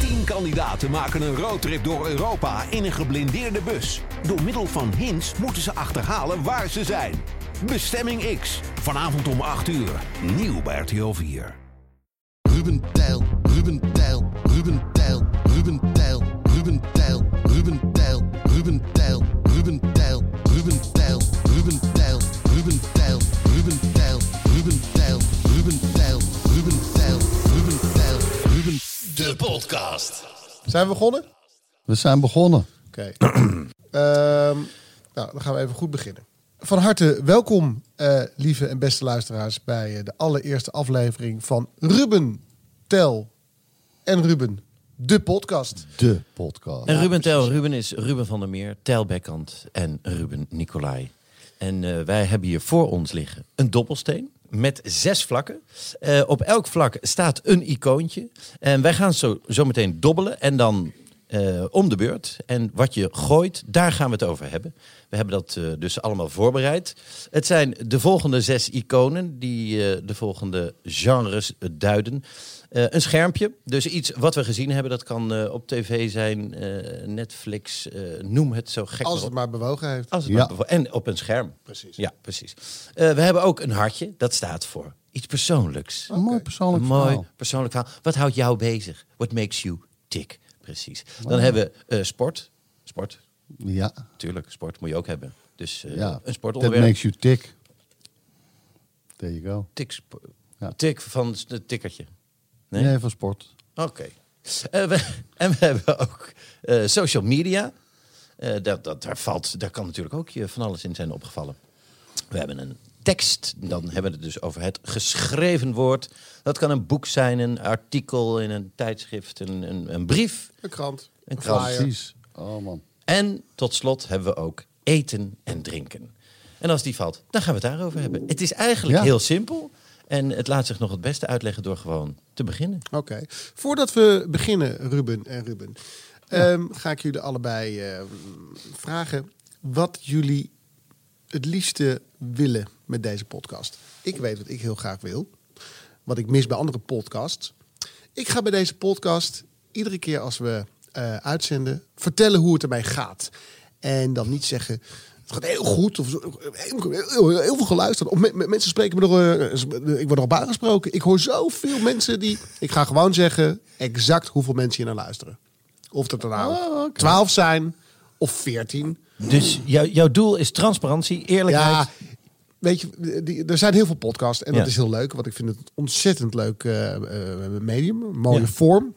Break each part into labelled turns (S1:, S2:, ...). S1: Tien kandidaten maken een roadtrip door Europa in een geblindeerde bus. Door middel van hints moeten ze achterhalen waar ze zijn. Bestemming X, vanavond om 8 uur, nieuw bij RTL 4.
S2: Ruben Tijl, Ruben Tijl, Ruben Tijl, Ruben Tijl, Ruben Tijl, Ruben Tijl, Ruben Tijl, Ruben Tijl, Ruben Tijl, Ruben Tijl, Ruben Tijl, Ruben Tijl, Ruben Tijl, Ruben Tijl, Ruben Tijl, Ruben Tijl, Ruben. De podcast.
S3: Zijn we begonnen?
S2: We zijn begonnen.
S3: Oké. Ehm, nou, dan gaan we even goed beginnen. Van harte welkom, eh, lieve en beste luisteraars, bij eh, de allereerste aflevering van Ruben, Tel en Ruben, de podcast.
S2: De podcast.
S4: En Ruben Tel, Ruben is Ruben van der Meer, Tel Bekkant en Ruben Nicolai. En eh, wij hebben hier voor ons liggen een dobbelsteen met zes vlakken. Eh, op elk vlak staat een icoontje. En wij gaan zo, zo meteen dobbelen en dan eh, om de beurt. En wat je gooit, daar gaan we het over hebben. We hebben dat eh, dus allemaal voorbereid. Het zijn de volgende zes iconen die eh, de volgende genres eh, duiden. Eh, een schermpje, dus iets wat we gezien hebben. Dat kan eh, op tv zijn, eh, Netflix, eh, noem het zo gek
S3: Als
S4: maar op.
S3: het maar bewogen heeft.
S4: Als het
S2: Ja.
S4: maar bevo- en op een scherm. Precies. Ja, precies. Eh, we hebben ook een hartje, dat staat voor iets persoonlijks.
S2: Een mooi persoonlijk
S4: Een mooi
S2: verhaal.
S4: persoonlijk verhaal. Wat houdt jou bezig? What makes you tick? Precies. Dan hebben we eh, sport. Sport,
S2: Ja.
S4: tuurlijk. Sport moet je ook hebben. Dus eh,
S2: ja.
S4: een
S2: That
S4: sportonderwerp.
S2: makes you tick. There you go.
S4: Tik, spo-
S2: Ja.
S4: tik van het tikkertje.
S2: Nee,
S4: Nee?
S2: van sport.
S4: Oké. Eh, we- en we hebben ook eh, social media. Eh, dat, dat, daar, valt, daar kan natuurlijk ook je van alles in zijn opgevallen. We hebben een tekst, dan hebben we het dus over het geschreven woord. Dat kan een boek zijn, een artikel in een tijdschrift, een, een, een brief.
S3: Een krant.
S4: Een krant.
S3: flyer.
S2: Precies. Oh man.
S4: En tot slot hebben we ook eten en drinken. En als die valt, dan gaan we het daarover hebben. Het is eigenlijk
S2: Ja.
S4: heel simpel. En het laat zich nog het beste uitleggen door gewoon te beginnen.
S3: Oké. Voordat we beginnen, Ruben en Ruben, ehm, ga ik jullie allebei ehm, vragen wat jullie het liefste willen met deze podcast. Ik weet wat ik heel graag wil, wat ik mis bij andere podcasts. Ik ga bij deze podcast iedere keer als we eh, uitzenden vertellen hoe het ermee gaat. En dan niet zeggen. Het gaat heel goed, of zo, heel, heel- heel veel geluisterd. Of me- me- mensen spreken me nog, eh, sp- ik word nog op aangesproken. Ik hoor zoveel mensen die. Ik ga gewoon zeggen exact hoeveel mensen hier naar luisteren. Of dat er nou
S2: Oh, oké.
S3: 12 zijn of 14.
S4: Dus jou- jouw doel is transparantie, eerlijkheid.
S3: Ja, weet je, die, er zijn heel veel podcasts en dat
S4: Ja.
S3: is heel leuk, want ik vind het een ontzettend leuk eh, eh, medium, een mooie
S4: Ja.
S3: vorm.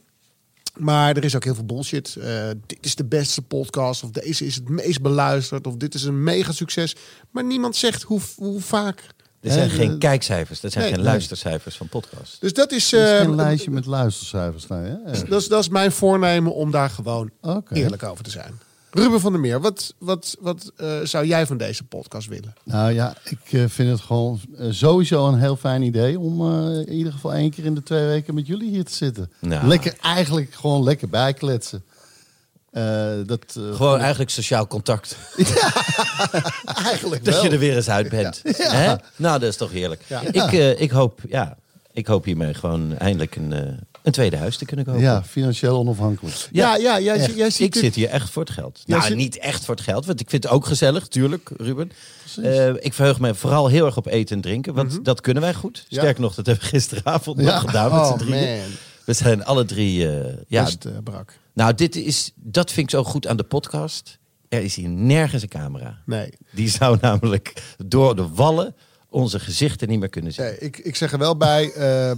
S3: Maar er is ook heel veel bullshit. Eh, dit is de beste podcast, of deze is het meest beluisterd, of dit is een mega succes. Maar niemand zegt hoe, hoe vaak.
S4: Er zijn
S3: Hè,
S4: geen
S3: eh,
S4: kijkcijfers, er zijn
S3: nee,
S4: geen
S3: nee.
S4: luistercijfers van podcasts.
S3: Dus dat is,
S2: Er is
S3: eh,
S2: geen lijstje met luistercijfers. Nee, hè? Eh,
S3: dat is, dat is mijn voornemen om daar gewoon
S2: Oké.
S3: eerlijk over te zijn. Ruben van der Meer, wat, wat, wat eh, zou jij van deze podcast willen?
S2: Nou ja, ik eh, vind het gewoon eh, sowieso een heel fijn idee om eh, in ieder geval één keer in de twee weken met jullie hier te zitten.
S4: Nou.
S2: Lekker, eigenlijk gewoon lekker bijkletsen. Eh, dat, eh,
S4: Gewoon eigenlijk sociaal contact.
S2: eigenlijk
S4: Dat
S2: wel.
S4: je er weer eens uit bent. Hè? Nou, dat is toch heerlijk. Ik, eh, ik, hoop, ja, ik hoop hiermee gewoon eindelijk een, eh, een tweede huis te kunnen kopen.
S2: Ja, financieel onafhankelijk.
S3: Ja, ja, jij,
S2: echt.
S3: jij ziet
S4: ik
S3: dit-
S4: zit hier echt voor het geld.
S3: Ja,
S4: nou,
S3: zit-
S4: niet echt voor het geld, want ik vind het ook gezellig, tuurlijk, Ruben. Eh, ik verheug me vooral heel erg op eten en drinken, want dat kunnen wij goed.
S3: Mhm. Ja.
S4: Sterker nog, dat hebben we gisteravond
S2: Ja.
S4: nog gedaan met
S3: Oh,
S4: z'n drieën.
S3: man.
S4: We zijn alle drie... eh, ja,
S3: best, eh, brak.
S4: Nou, dit is, dat vind ik zo goed aan de podcast. Er is hier nergens een camera.
S3: Nee.
S4: Die zou namelijk door de wallen onze gezichten niet meer kunnen zien.
S3: Nee, ik, ik zeg er wel bij. eh,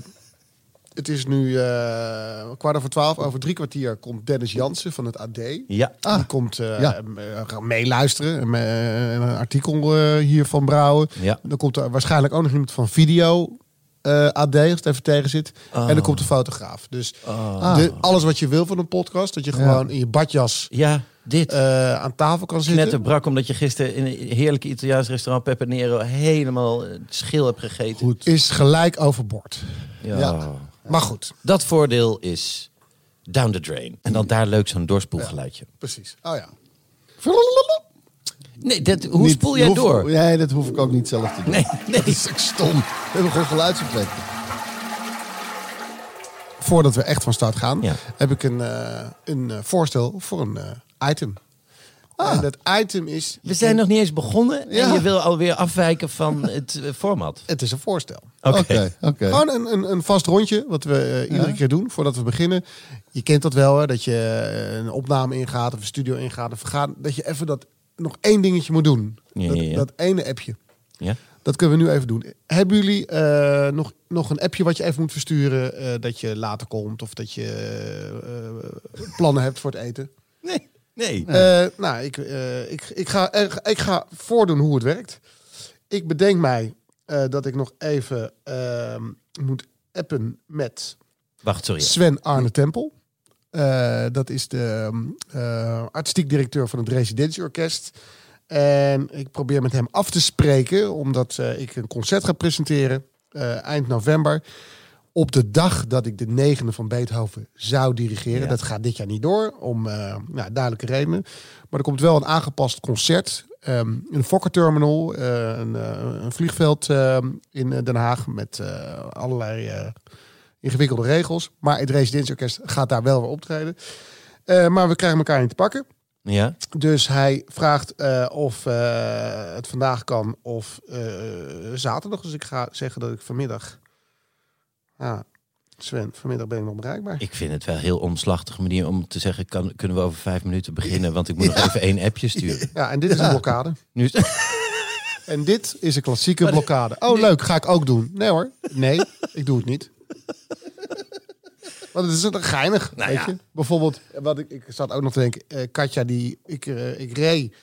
S3: Het is nu eh, kwart over twaalf. Over drie kwartier komt Dennis Jansen van het AD.
S4: Ja. Ah.
S3: Die komt eh,
S2: Ja.
S3: m- eh, gaan meeluisteren. en, eh, Een artikel eh, hier van Brouwen.
S4: Ja.
S3: Dan komt er waarschijnlijk ook nog iemand van video. eh, AD, als het even tegen zit. En
S4: Oh.
S3: dan komt de fotograaf. Dus de- alles wat je wil van een podcast. Dat je gewoon in je badjas
S4: Ja, dit.
S3: eh, aan tafel kan
S4: Net
S3: zitten.
S4: brak omdat je gisteren in een heerlijk Italiaans restaurant Pepe Nero helemaal eh, schil hebt gegeten.
S3: Goed. Is gelijk overboord.
S4: Ja.
S3: ja. Maar goed,
S4: Dat voordeel is down the drain. En dan daar leuk zo'n doorspoelgeluidje.
S3: precies. Oh ja.
S4: Nee, dat, hoe
S2: Niet-
S4: spoel jij
S2: hoef-
S4: door?
S2: Nee, dat hoef ik ook niet zelf te doen.
S4: Nee, nee.
S2: Dat is ook stom. We hebben gewoon geluidsopletten.
S3: voordat we echt van start gaan,
S4: Ja.
S3: heb ik een, eh, een eh, voorstel voor een eh, item. En dat item is.
S4: Ah. We zijn nog niet eens begonnen en
S2: Ja.
S4: je wil alweer afwijken van het eh, format.
S3: Het is een voorstel.
S4: Oké.
S2: Oké, oké.
S3: Gewoon een, een, een vast rondje, wat we eh, iedere keer doen voordat we beginnen. Je kent dat wel, hè, dat je eh, een opname ingaat of een studio ingaat. Of gaat, dat je even dat, nog één dingetje moet doen.
S4: Ja,
S3: dat,
S4: ja, ja.
S3: dat ene appje.
S4: Ja?
S3: Dat kunnen we nu even doen. Hebben jullie eh, nog, nog een appje wat je even moet versturen eh, dat je later komt of dat je eh, plannen hebt voor het eten?
S4: Nee, nee.
S3: Eh, nou, ik, eh, ik, ik, ga, eh, ik ga voordoen hoe het werkt. Ik bedenk mij eh, dat ik nog even ehm, moet appen met
S4: Wacht, sorry.
S3: Sven Arne Tempel. Eh, dat is de ehm, eh, artistiek directeur van het Residentieorkest. En ik probeer met hem af te spreken, omdat eh, ik een concert ga presenteren eh, eind november. Op de dag dat ik de negende van Beethoven zou dirigeren.
S4: Ja.
S3: Dat gaat dit jaar niet door, om eh, nou, duidelijke redenen. Maar er komt wel een aangepast concert. ehm, een Fokkerterminal, eh, een, eh, een vliegveld ehm, in eh, Den Haag met eh, allerlei eh, ingewikkelde regels. Maar het residentieorkest gaat daar wel weer optreden. Eh, maar we krijgen elkaar niet te pakken.
S4: Ja?
S3: Dus hij vraagt eh, of eh, het vandaag kan of eh, zaterdag. Dus ik ga zeggen dat ik vanmiddag... Ah, Sven, vanmiddag ben ik nog bereikbaar.
S4: Ik vind het wel een heel omslachtige manier om te zeggen, kan, kunnen we over vijf minuten beginnen? Want ik moet nog even één appje sturen.
S3: Ja, en dit is een blokkade.
S4: Nu, is-
S3: En dit is een klassieke blokkade. Oh, leuk, ga ik ook doen. Nee hoor, nee, ik doe het niet. Want het is een geinig,
S4: Nou
S3: weet
S4: ja.
S3: je. Bijvoorbeeld, wat ik, ik zat ook nog te denken, eh, Katja die, ik, eh, ik reed.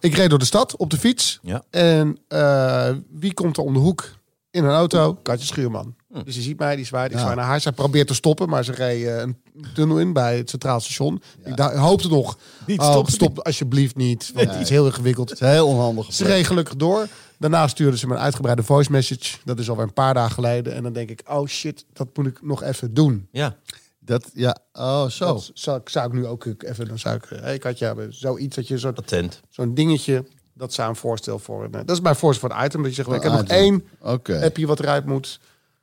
S3: Ik reed door de stad op de fiets.
S4: Ja.
S3: En eh, wie komt er om de hoek in een auto? Katja Schuurman.
S4: Hm.
S3: Dus die ziet mij, die zwaait, ik zwaai naar haar. Zij probeert te stoppen, maar ze reed eh, een tunnel in bij het Centraal Station. Ik da- hoopte nog,
S4: Niet
S3: oh,
S4: stoppen.
S3: stop alsjeblieft niet, want het is heel ingewikkeld.
S2: Het is heel onhandig.
S3: Ze reed gelukkig door. Daarna stuurde ze me een uitgebreide voice message. Dat is alweer een paar dagen geleden. En dan denk ik, oh shit, dat moet ik nog even doen.
S4: ja.
S2: Dat, ja, oh zo.
S3: Dat zou, ik- zou ik nu ook even... Dan zou ik, hey, ik had ja, zoiets dat je een soort-
S4: Attent.
S3: zo'n dingetje... Dat zou een voorstel voor... een- eh, dat is mijn voorstel voor het item. Dat je zegt, ik heb nog
S2: item.
S3: één
S2: Oké.
S3: appje wat eruit moet.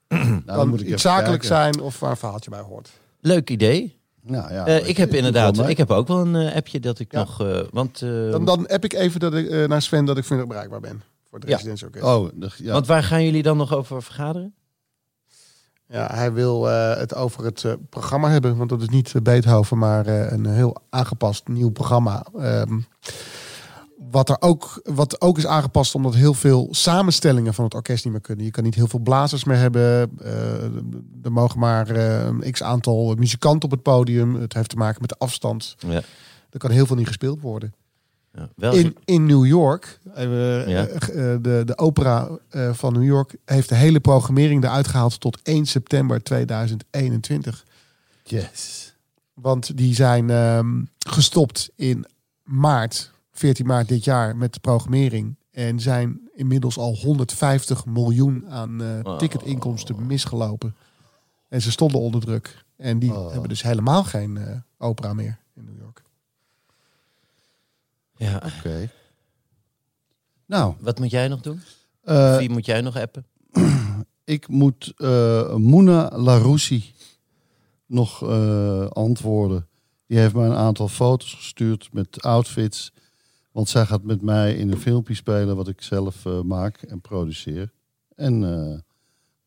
S2: Nou,
S3: Kan
S2: moet ik
S3: iets
S2: even
S3: zakelijk
S2: kijken.
S3: zijn of waar een verhaaltje bij hoort.
S4: Leuk idee.
S2: Nou, ja,
S4: Eh,
S2: weet
S4: ik
S2: je,
S4: heb
S2: doe
S4: inderdaad,
S2: wel, hè.
S4: ik heb ook wel een eh, appje dat ik
S3: Ja.
S4: nog, eh, want, eh,
S3: Dan, dan app ik even dat ik, eh, naar Sven dat ik vanmiddag bereikbaar ben. Voor het
S4: Ja.
S3: residentieorkest.
S2: Oh, de- ja.
S4: want waar gaan jullie dan nog over vergaderen?
S3: Ja, hij wil eh, het over het eh, programma hebben. Want dat is niet eh, Beethoven, maar eh, een heel aangepast nieuw programma. Ehm, wat, er ook, wat ook is aangepast omdat heel veel samenstellingen van het orkest niet meer kunnen. Je kan niet heel veel blazers meer hebben. Eh, er mogen maar eh, een x aantal muzikanten op het podium. Het heeft te maken met de afstand.
S4: Ja.
S3: Er kan heel veel niet gespeeld worden.
S4: Ja, wel
S3: In, in New York, eh,
S4: Ja.
S3: eh, de, de opera eh, van New York, heeft de hele programmering eruit gehaald tot 1 september 2021.
S2: Yes.
S3: Want die zijn ehm, gestopt in maart, 14 maart dit jaar, met de programmering. En zijn inmiddels al 150 miljoen aan eh, ticketinkomsten misgelopen. En ze stonden onder druk. En die hebben dus helemaal geen eh, opera meer in New York.
S4: ja.
S2: Oké. Nou,
S4: Wat moet jij nog doen?
S2: eh,
S4: Wie moet jij nog appen?
S2: ik moet eh Moena Laroussi nog eh, antwoorden. Die heeft mij een aantal foto's gestuurd met outfits. Want zij gaat met mij in een filmpje spelen wat ik zelf eh, maak en produceer. En eh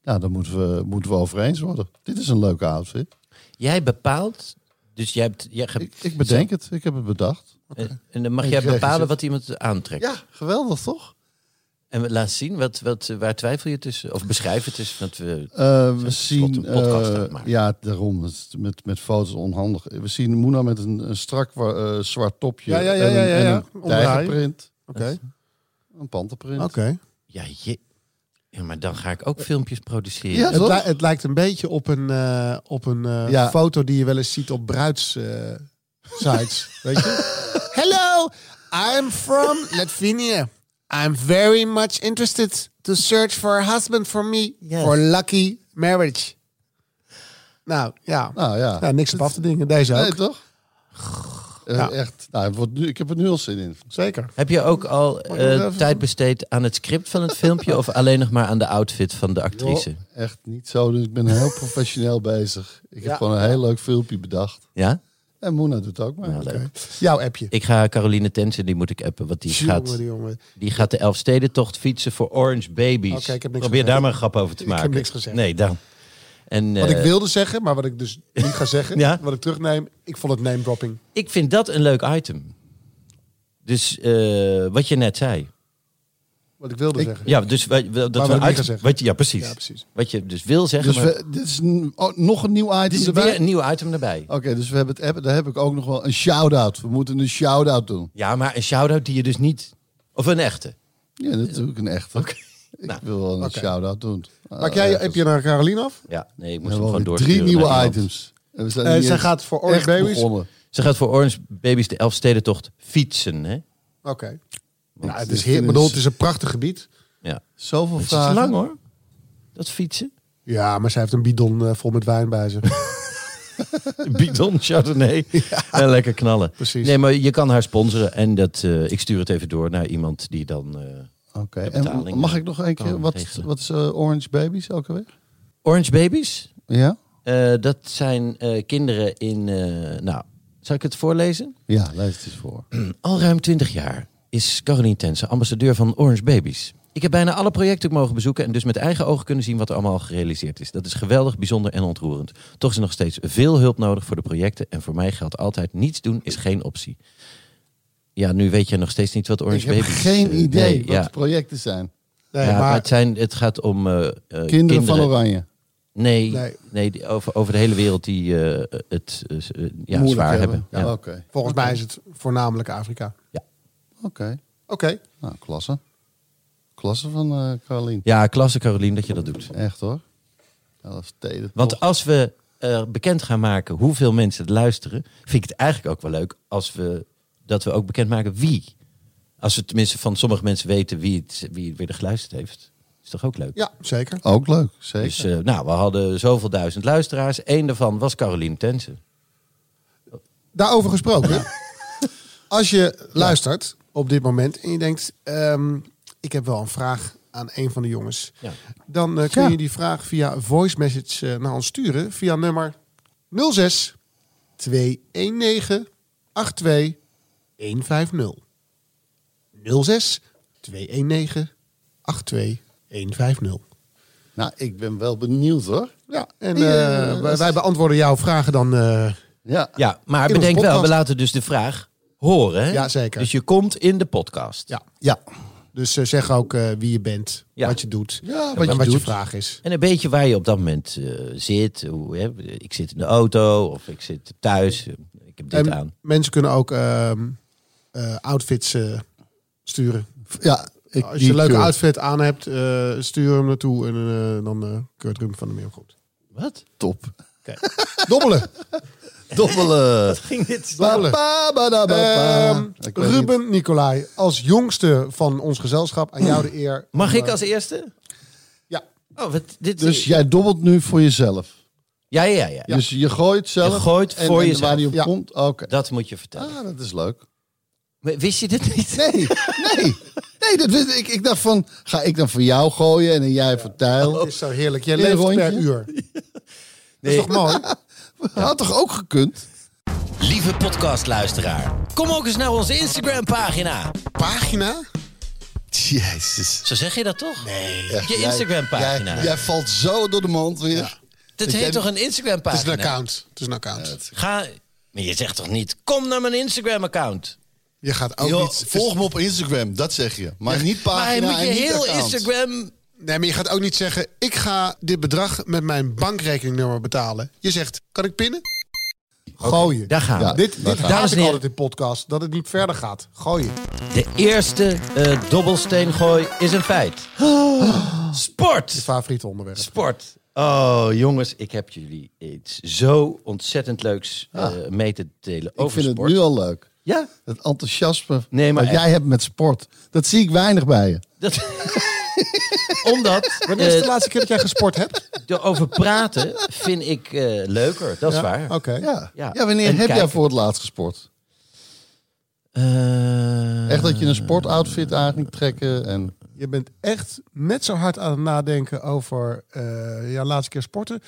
S2: ja, daar moeten we, moeten we over eens worden. Dit is een leuke outfit.
S4: Jij bepaalt, dus jij hebt, jij ge- eh,
S2: Ik, ik bedenk het, ik heb het bedacht.
S4: En, en dan mag
S3: Ik
S4: jij
S3: krijg
S4: bepalen
S3: het.
S4: wat iemand aantrekt.
S2: Ja, geweldig toch?
S4: En laat zien, wat, wat, eh, waar twijfel je tussen? Of beschrijf het eens. Want we,
S5: Eh, we
S4: Zijn
S5: zien,
S4: tenslotte een podcast
S5: eh,
S4: aan het maken.
S5: ja, daarom het is met, met foto's onhandig. We zien Moena met een, een strak wa- eh, zwart topje
S3: Ja, ja, ja,
S5: en
S3: ja,
S5: een,
S3: ja,
S5: en
S3: ja.
S5: een
S3: Omdraaien.
S5: tijgerprint,
S3: Oké.
S5: een panterprint.
S3: Oké.
S4: ja, je, ja, maar dan ga ik ook filmpjes produceren.
S5: Ja,
S3: Het,
S5: toch?
S3: li- het lijkt een beetje op een, eh, op een eh,
S5: Ja.
S3: foto die je wel eens ziet op bruids eh, sites. weet je? Hello, I'm from Latvia. I'm very much interested to search for a husband for me
S4: Yes.
S3: for lucky marriage. Nou ja,
S5: Nou ja.
S3: Ja, niks op af te dingen. Deze ook.
S5: Nee, toch? Eh, Echt, nou, het wordt nu, ik heb er nu al zin in.
S3: Zeker.
S4: Heb je ook al
S5: ik nog
S4: eh,
S5: even-
S4: tijd besteed aan het script van het filmpje of alleen nog maar aan de outfit van de actrice?
S5: Joh, echt niet zo, dus ik ben heel professioneel bezig. Ik heb gewoon een heel leuk filmpje bedacht.
S4: Ja?
S5: En Moena doet ook mee.
S4: Nou, leuk.
S3: Jouw appje.
S4: Ik ga Caroline Tensen, die moet ik appen, want die gaat,
S3: Jongen, jongen.
S4: die gaat de Elfstedentocht fietsen voor Orange Babies.
S3: Oké, ik heb niks
S4: Probeer
S3: gezegd.
S4: daar maar een grap over te
S3: Ik heb
S4: maken.
S3: niks gezegd.
S4: Nee, dan. En,
S3: Wat
S4: eh,
S3: ik wilde zeggen, maar wat ik dus niet ga zeggen,
S4: Ja.
S3: wat ik terugneem, ik vond het name dropping.
S4: Ik vind dat een leuk item. Dus eh, wat je net zei.
S3: Wat ik wilde zeggen.
S4: Ja, dus wat, wat- dat
S3: wat ik
S4: we
S3: niet
S4: uit-
S3: ga zeggen.
S4: wat je- ja, precies.
S3: Ja, precies.
S4: Wat je dus wil zeggen.
S5: Dus
S4: maar,
S5: we, dit is een- oh, nog een nieuw item
S4: dit is
S5: erbij.
S4: weer een nieuw item erbij.
S5: Oké, dus we hebben het, heb- daar heb ik ook nog wel een shout-out. We moeten een shout-out doen.
S4: Ja, maar een shout-out die je dus niet... Of een echte.
S5: Ja, natuurlijk een echte. Ik
S4: Nou,
S5: wil wel een shout-out doen.
S3: Pak jij je
S5: heb
S3: appje naar Caroline af?
S4: Ja, nee, ik
S5: We
S4: moest hem
S5: hebben
S4: gewoon
S5: alweer
S4: door.
S5: drie nieuwe items. En we zijn
S3: Eh,
S5: niet
S3: zij
S5: eens
S3: gaat voor Orange
S5: echt
S3: Babies.
S5: begonnen.
S4: Ze gaat voor Orange Babies de Elfstedentocht fietsen, hè?
S3: Oké. Nou, het
S5: dit
S3: is heer,
S5: is-
S3: bedoel, het is een prachtig gebied.
S4: Ja.
S5: Zoveel
S4: Het is
S5: vragen.
S4: lang, hoor. eh, Dat fietsen.
S3: Ja, maar zij heeft een bidon eh, vol met wijn bij zich.
S4: Bidon Chardonnay. En lekker knallen.
S3: Precies.
S4: Nee, maar je kan haar sponsoren. En dat, eh, ik stuur het even door naar iemand die dan... eh,
S5: Oké,
S4: De betaling,
S5: en mag
S4: eh,
S5: ik nog een keer...
S4: kan
S5: Wat,
S4: regelen.
S5: wat is eh, Orange Babies ook alweer?
S4: Orange Babies?
S5: Ja?
S4: Eh, dat zijn eh, kinderen in... eh, nou, zal ik het voorlezen?
S5: Ja, lees het eens voor.
S4: Al ruim 20 jaar is Caroline Tensen ambassadeur van Orange Babies. Ik heb bijna alle projecten mogen bezoeken en dus met eigen ogen kunnen zien wat er allemaal al gerealiseerd is. Dat is geweldig, bijzonder en ontroerend. Toch is er nog steeds veel hulp nodig voor de projecten en voor mij geldt altijd niets doen is geen optie. Ja, nu weet je nog steeds niet wat Orange
S5: ik heb
S4: Babies is.
S5: geen
S4: Eh,
S5: idee
S4: nee,
S5: wat
S4: ja.
S5: de projecten zijn.
S3: Nee,
S4: Ja, maar
S3: maar
S4: het, zijn, het gaat om eh, eh,
S5: Kinderen, van Oranje.
S4: Nee, nee.
S3: Nee.
S4: die over, over de hele wereld die eh, het eh, s- eh, ja,
S5: Moeilijk
S4: zwaar hebben. Ja.
S5: Ja, Oké,
S3: volgens mij is het voornamelijk Afrika.
S4: Ja.
S5: oké.
S3: Oké.
S5: Nou, klasse. Klasse van eh Carlien.
S4: ja, klasse Carolien dat je dat doet.
S5: Echt hoor. Ja, dat is teder.
S4: Want als we eh, bekend gaan maken hoeveel mensen het luisteren, vind ik het eigenlijk ook wel leuk als we dat we ook bekend maken wie. Als we tenminste van sommige mensen weten wie het, wie het weer geluisterd heeft. Is toch ook leuk?
S3: Ja, zeker.
S5: Ook leuk, zeker.
S4: Dus eh, nou, we hadden zoveel duizend luisteraars. Eén daarvan was Caroline Tensen.
S3: Daarover gesproken. Als je luistert op dit moment en je denkt, ehm, ik heb wel een vraag aan een van de jongens.
S4: Ja.
S3: Dan eh, kun
S5: Ja.
S3: je die vraag via voice message eh, naar ons sturen via nummer 06 219 82 150. 06 219 82 150.
S5: Nou, ik ben wel benieuwd hoor.
S3: Ja, en
S5: Die,
S3: eh,
S5: eh,
S3: wij, wij beantwoorden jouw vragen dan. eh,
S5: Ja.
S4: Ja,
S3: In
S4: maar
S3: onze
S4: bedenk wel, we
S3: podcast.
S4: laten dus de vraag horen. Hè?
S3: Ja, zeker.
S4: Dus je komt in de podcast.
S3: ja. ja. Dus eh, zeg ook eh, wie je bent,
S4: Ja.
S3: wat je doet
S5: Ja,
S3: en
S5: wat
S3: wat,
S5: je
S3: je
S5: doet.
S3: vraag is.
S4: En een beetje waar je op dat moment eh, zit. Hoe, hè, ik zit in de auto of ik zit thuis. eh, Ik heb dit
S3: En
S4: aan.
S3: Ehm, mensen kunnen ook ehm, eh, outfits eh, sturen.
S5: Ja, ik,
S3: Als je
S5: die
S3: een leuke
S5: keur.
S3: outfit aan hebt, eh, stuur hem naartoe en eh, dan eh keurt Ruben van de Meer goed.
S4: Wat?
S5: Top.
S3: Dobbelen.
S5: Dobbelen.
S4: Ging dit
S3: Dobbelen.
S5: Ba, ba, da, ba, ba.
S3: Ehm,
S5: Ik weet niet.
S3: Ruben Nicolai, als jongste van ons gezelschap, aan jou de eer. om,
S4: Mag ik
S3: eh,
S4: als eerste?
S3: Ja.
S4: Oh, wat, dit
S5: Dus jij dobbelt nu voor jezelf.
S4: Ja, ja, ja. ja.
S5: Dus je gooit zelf.
S4: Je gooit
S5: en,
S4: voor
S5: en
S4: jezelf.
S5: Waar die op
S3: Ja.
S5: komt. Oh, Oké.
S4: Dat moet je vertellen.
S5: Ah, dat is leuk.
S4: Maar Wist je dit niet?
S5: Nee, nee. Nee, dat wist ik. Ik dacht van, ga ik dan voor jou gooien en dan jij voor Tijl?
S3: Het is zo heerlijk. Jij
S5: Een
S3: leeft
S5: rondje.
S3: per uur.
S4: Nee.
S3: Dat is toch mooi?
S5: Had toch ook gekund?
S4: Lieve podcastluisteraar, kom ook eens naar onze Instagram-pagina.
S3: Pagina?
S5: Jezus.
S4: Zo zeg je dat toch? Nee.
S5: Echt,
S4: Je
S5: jij-
S4: Instagram-pagina.
S5: Jij, jij valt zo door de mand weer.
S4: Dit
S5: dat
S4: heet
S5: jij-
S4: toch een
S3: Het is een
S4: Instagram-pagina?
S3: account. Het is een account.
S4: Ga... Maar je zegt toch niet, kom naar mijn Instagram-account?
S3: Je gaat ook
S5: Joh,
S3: niet...
S5: volg me op Instagram, dat zeg je. Maar niet
S4: Maar
S5: pagina
S4: moet je
S5: en niet
S4: heel
S5: account.
S4: Instagram...
S3: Nee, maar je gaat ook niet zeggen... ik ga dit bedrag met mijn bankrekeningnummer betalen. Je zegt, kan ik pinnen? Gooien.
S4: daar gaan we.
S3: Ja, dit
S5: daar
S3: dit
S5: gaan we.
S3: haat
S4: Dames en
S3: ik
S4: heren.
S3: altijd in podcast. Dat het niet verder gaat. Gooien.
S4: De eerste eh dobbelsteengooi is een feit. Sport!
S3: Favoriete onderwerp.
S4: Sport. Oh, jongens, ik heb jullie iets zo ontzettend leuks eh, mee te delen
S5: Ah. Ik
S4: over
S5: vind
S4: sport.
S5: het nu al leuk.
S4: Ja,
S5: Het enthousiasme
S4: Nee, maar
S5: wat jij
S4: echt.
S5: hebt met sport. Dat zie ik weinig bij je.
S4: dat... omdat
S3: Wanneer is
S4: eh,
S3: de laatste keer dat jij gesport hebt?
S4: erover praten vind ik eh, leuker. Dat is waar.
S3: Oké.
S5: Ja,
S4: Ja.
S5: ja. wanneer
S4: En
S5: heb jij
S4: kijken.
S5: voor het laatst gesport?
S4: Eh,
S5: Echt dat je een sportoutfit aan ging trekken en...
S3: Je bent echt net zo hard aan het nadenken over eh jouw laatste keer sporten.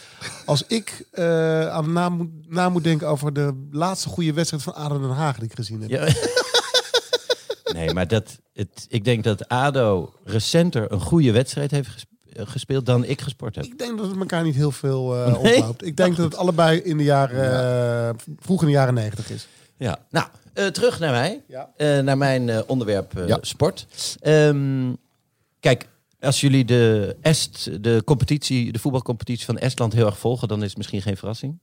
S3: Als ik eh, aan het na moet, na moet denken over de laatste goede wedstrijd van Aden Den Haag die ik gezien heb.
S4: Ja. nee, maar dat, het, ik denk dat ADO recenter een goede wedstrijd heeft gesp- eh, gespeeld dan ik gesport heb.
S3: Ik denk dat het elkaar niet heel veel eh
S4: Nee? Nou,
S3: ophoudt. Ik denk dat het allebei in de jaren, eh, vroeg in de jaren negentig is.
S4: Ja. Nou, eh, terug naar mij.
S3: Ja.
S4: Eh, naar mijn eh, onderwerp eh,
S5: Ja.
S4: sport. Ehm, kijk, als jullie de, Est, de, competitie, de voetbalcompetitie van Estland heel erg volgen, dan is het misschien geen verrassing.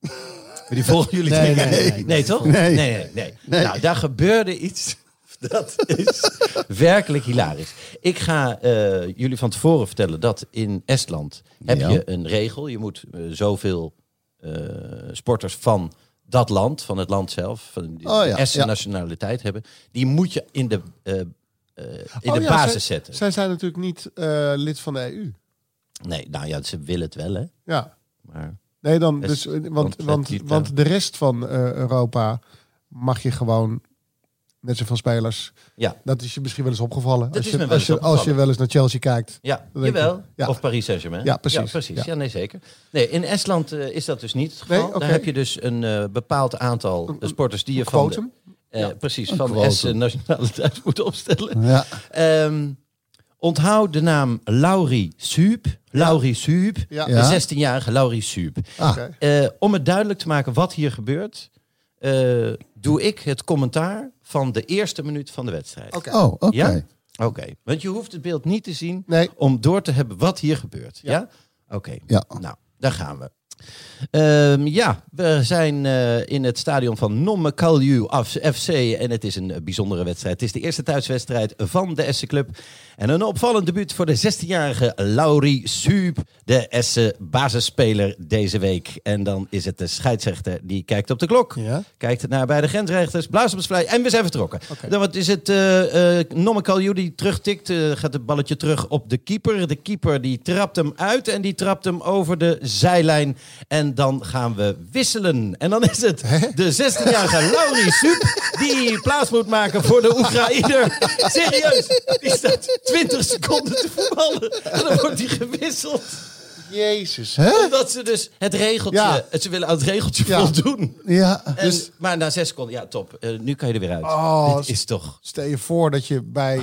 S4: Maar die volgen jullie
S3: Nee,
S4: niet.
S3: nee, nee, nee.
S4: toch?
S5: Nee.
S4: nee, nee, nee. Nou, daar gebeurde iets. Dat is werkelijk hilarisch. Ik ga eh, jullie van tevoren vertellen dat in Estland heb
S5: Ja.
S4: je een regel. Je moet eh, zoveel eh, sporters van dat land, van het land zelf, van de
S5: Oh ja,
S4: Estse
S5: ja.
S4: nationaliteit hebben. Die moet je in de, eh, eh, in
S3: Oh
S4: de
S3: ja,
S4: basis
S3: zij-
S4: zetten.
S3: Zij zijn natuurlijk niet eh, lid van de EU.
S4: Nee, nou ja, ze willen het wel, hè.
S3: Ja.
S4: Maar
S3: Nee, dan
S4: Dus-
S3: dus, eh, want,
S4: want het
S3: want,
S4: niet, eh,
S3: want de rest van eh, Europa mag je gewoon net zoveel spelers.
S4: ja,
S3: Dat is je misschien wel eens opgevallen.
S4: Dat
S3: als,
S4: is
S3: je,
S4: me wel
S3: als, je,
S4: eens
S3: als je
S4: opgevallen.
S3: wel eens naar Chelsea kijkt.
S4: Ja,
S3: Dan denk
S4: jawel.
S3: je, ja.
S4: Of Paris Saint-Germain.
S3: Ja, precies.
S4: Ja, precies.
S3: Ja.
S4: Ja. nee, zeker. Nee, in Estland eh, is dat dus niet het geval.
S3: Nee, oké.
S4: Daar heb je dus een eh, bepaald aantal eh, sporters die je van... de-
S3: Quotum.
S4: eh, Precies, van de
S5: quotum.
S4: Essen nationaliteit moet opstellen.
S5: Ja.
S4: Ehm, onthoud de naam Laurie Suub. Laurie Suub.
S3: Ja.
S5: Ja.
S4: De 16-jarige Laurie Suub.
S5: Ah,
S3: Oké.
S4: Eh, om het duidelijk te maken wat hier gebeurt... eh, doe ik het commentaar van de eerste minuut van de wedstrijd.
S3: Oké.
S5: Oh, oké.
S4: Ja? Oké. Want je hoeft het beeld niet te zien
S3: Nee.
S4: om door te hebben wat hier gebeurt. Ja? Oké.
S5: Ja.
S4: Nou, daar gaan we. Ehm, ja, we zijn eh, in het stadion van Nomme Kalju FC en het is een eh, bijzondere wedstrijd. Het is de eerste thuiswedstrijd van de Essen Club. En een opvallend debuut voor de 16-jarige Laurie Suub, de Essen basisspeler deze week. En dan is het de scheidsrechter die kijkt op de klok.
S3: Ja.
S4: Kijkt naar beide grensrechters, blaast op het fluit en we zijn vertrokken. Dan wat is het, eh eh Nomme Kalju die terugtikt, eh, gaat het balletje terug op de keeper. De keeper die trapt hem uit en die trapt hem over de zijlijn. En dan gaan we wisselen. En dan is het de 16-jarige Laurie Sup die plaats moet maken voor de Oekraïner. Serieus, die staat 20 seconden te voetballen en dan wordt hij gewisseld.
S3: Jezus.
S4: Omdat ze dus het regeltje, eh,
S3: Ja.
S4: ze willen aan het regeltje
S3: Ja. Dus-
S4: voldoen.
S5: Ja. dus-
S4: En- maar na zes seconden, ja, top. Eh, nu kan je er weer uit.
S3: Oh,
S4: Dit is toch.
S3: Stel je voor dat je bij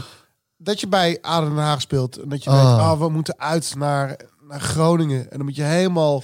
S3: dat je bij Aden Den Haag speelt en dat je weet, ah, we moeten uit naar, naar Groningen en dan moet je helemaal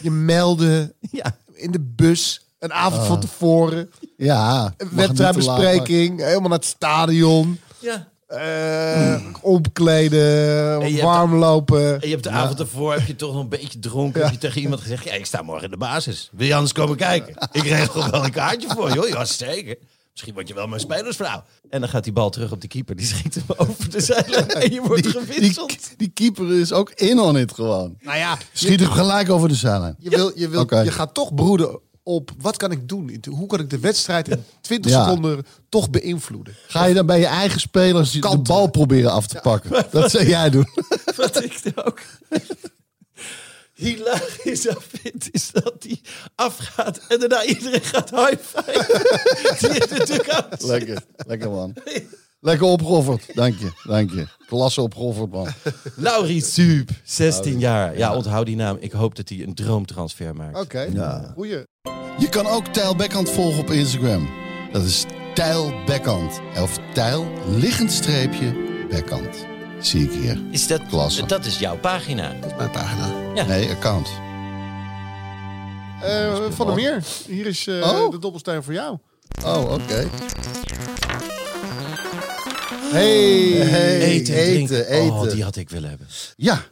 S3: je melden
S4: Ja.
S3: in de bus een avond van tevoren,
S5: Ja.
S3: een
S5: Ah. mag niet te laat,
S3: wedstrijdbespreking, helemaal naar het stadion.
S4: Ja.
S3: Eh, Omkleden,
S4: En je
S3: warm lopen.
S4: En je hebt de avond ervoor, heb je toch nog een beetje dronken. Heb je tegen iemand gezegd, ja, ik sta morgen in de basis. Wil je anders komen kijken? Ik regel wel een kaartje voor je, hoor. Ja, zeker. Misschien word je wel mijn spelersvrouw. En dan gaat die bal terug op de keeper. Die schiet hem over de zijlijn en je wordt
S5: Die,
S4: gewisseld.
S5: die keeper is ook in on it gewoon.
S3: Nou ja,
S5: Schiet hem gelijk over de zijlijn.
S3: je, wil, je, wil,
S5: Oké.
S3: je gaat toch broeden op wat kan ik doen? Hoe kan ik de wedstrijd in 20
S5: Ja.
S3: seconden toch beïnvloeden?
S5: Ga je dan bij je eigen spelers die- de
S3: Kantelen.
S5: bal proberen af te pakken? Dat zou jij doen.
S4: Wat ik er ook hilarisch aan vind, is dat die afgaat en daarna iedereen gaat high-five. Die in de dugout zit.
S5: Lekker, lekker man. Lekker opgeofferd. Dank je, dank je. Klasse opgeofferd man.
S4: Laurie Suub, 16 jaar. Ja, onthoud die naam. Ik hoop dat hij een droomtransfer maakt.
S3: Oké, goeie.
S5: Je kan ook Tijl Bekkant volgen op Instagram. Dat is Tijl Bekkant. Of Tijl, liggend streepje, Bekkant. Zie ik hier.
S4: Is dat,
S5: Klasse.
S4: dat is jouw pagina.
S3: Mijn pagina.
S5: Nee, account.
S3: van der Meer, hier is eh,
S5: Oh.
S3: de dobbelstein voor jou.
S5: Oh, oké. Hey, hey,
S4: Eten,
S5: eten,
S4: drinken.
S5: eten.
S4: Oh, die had ik willen hebben.
S5: Ja,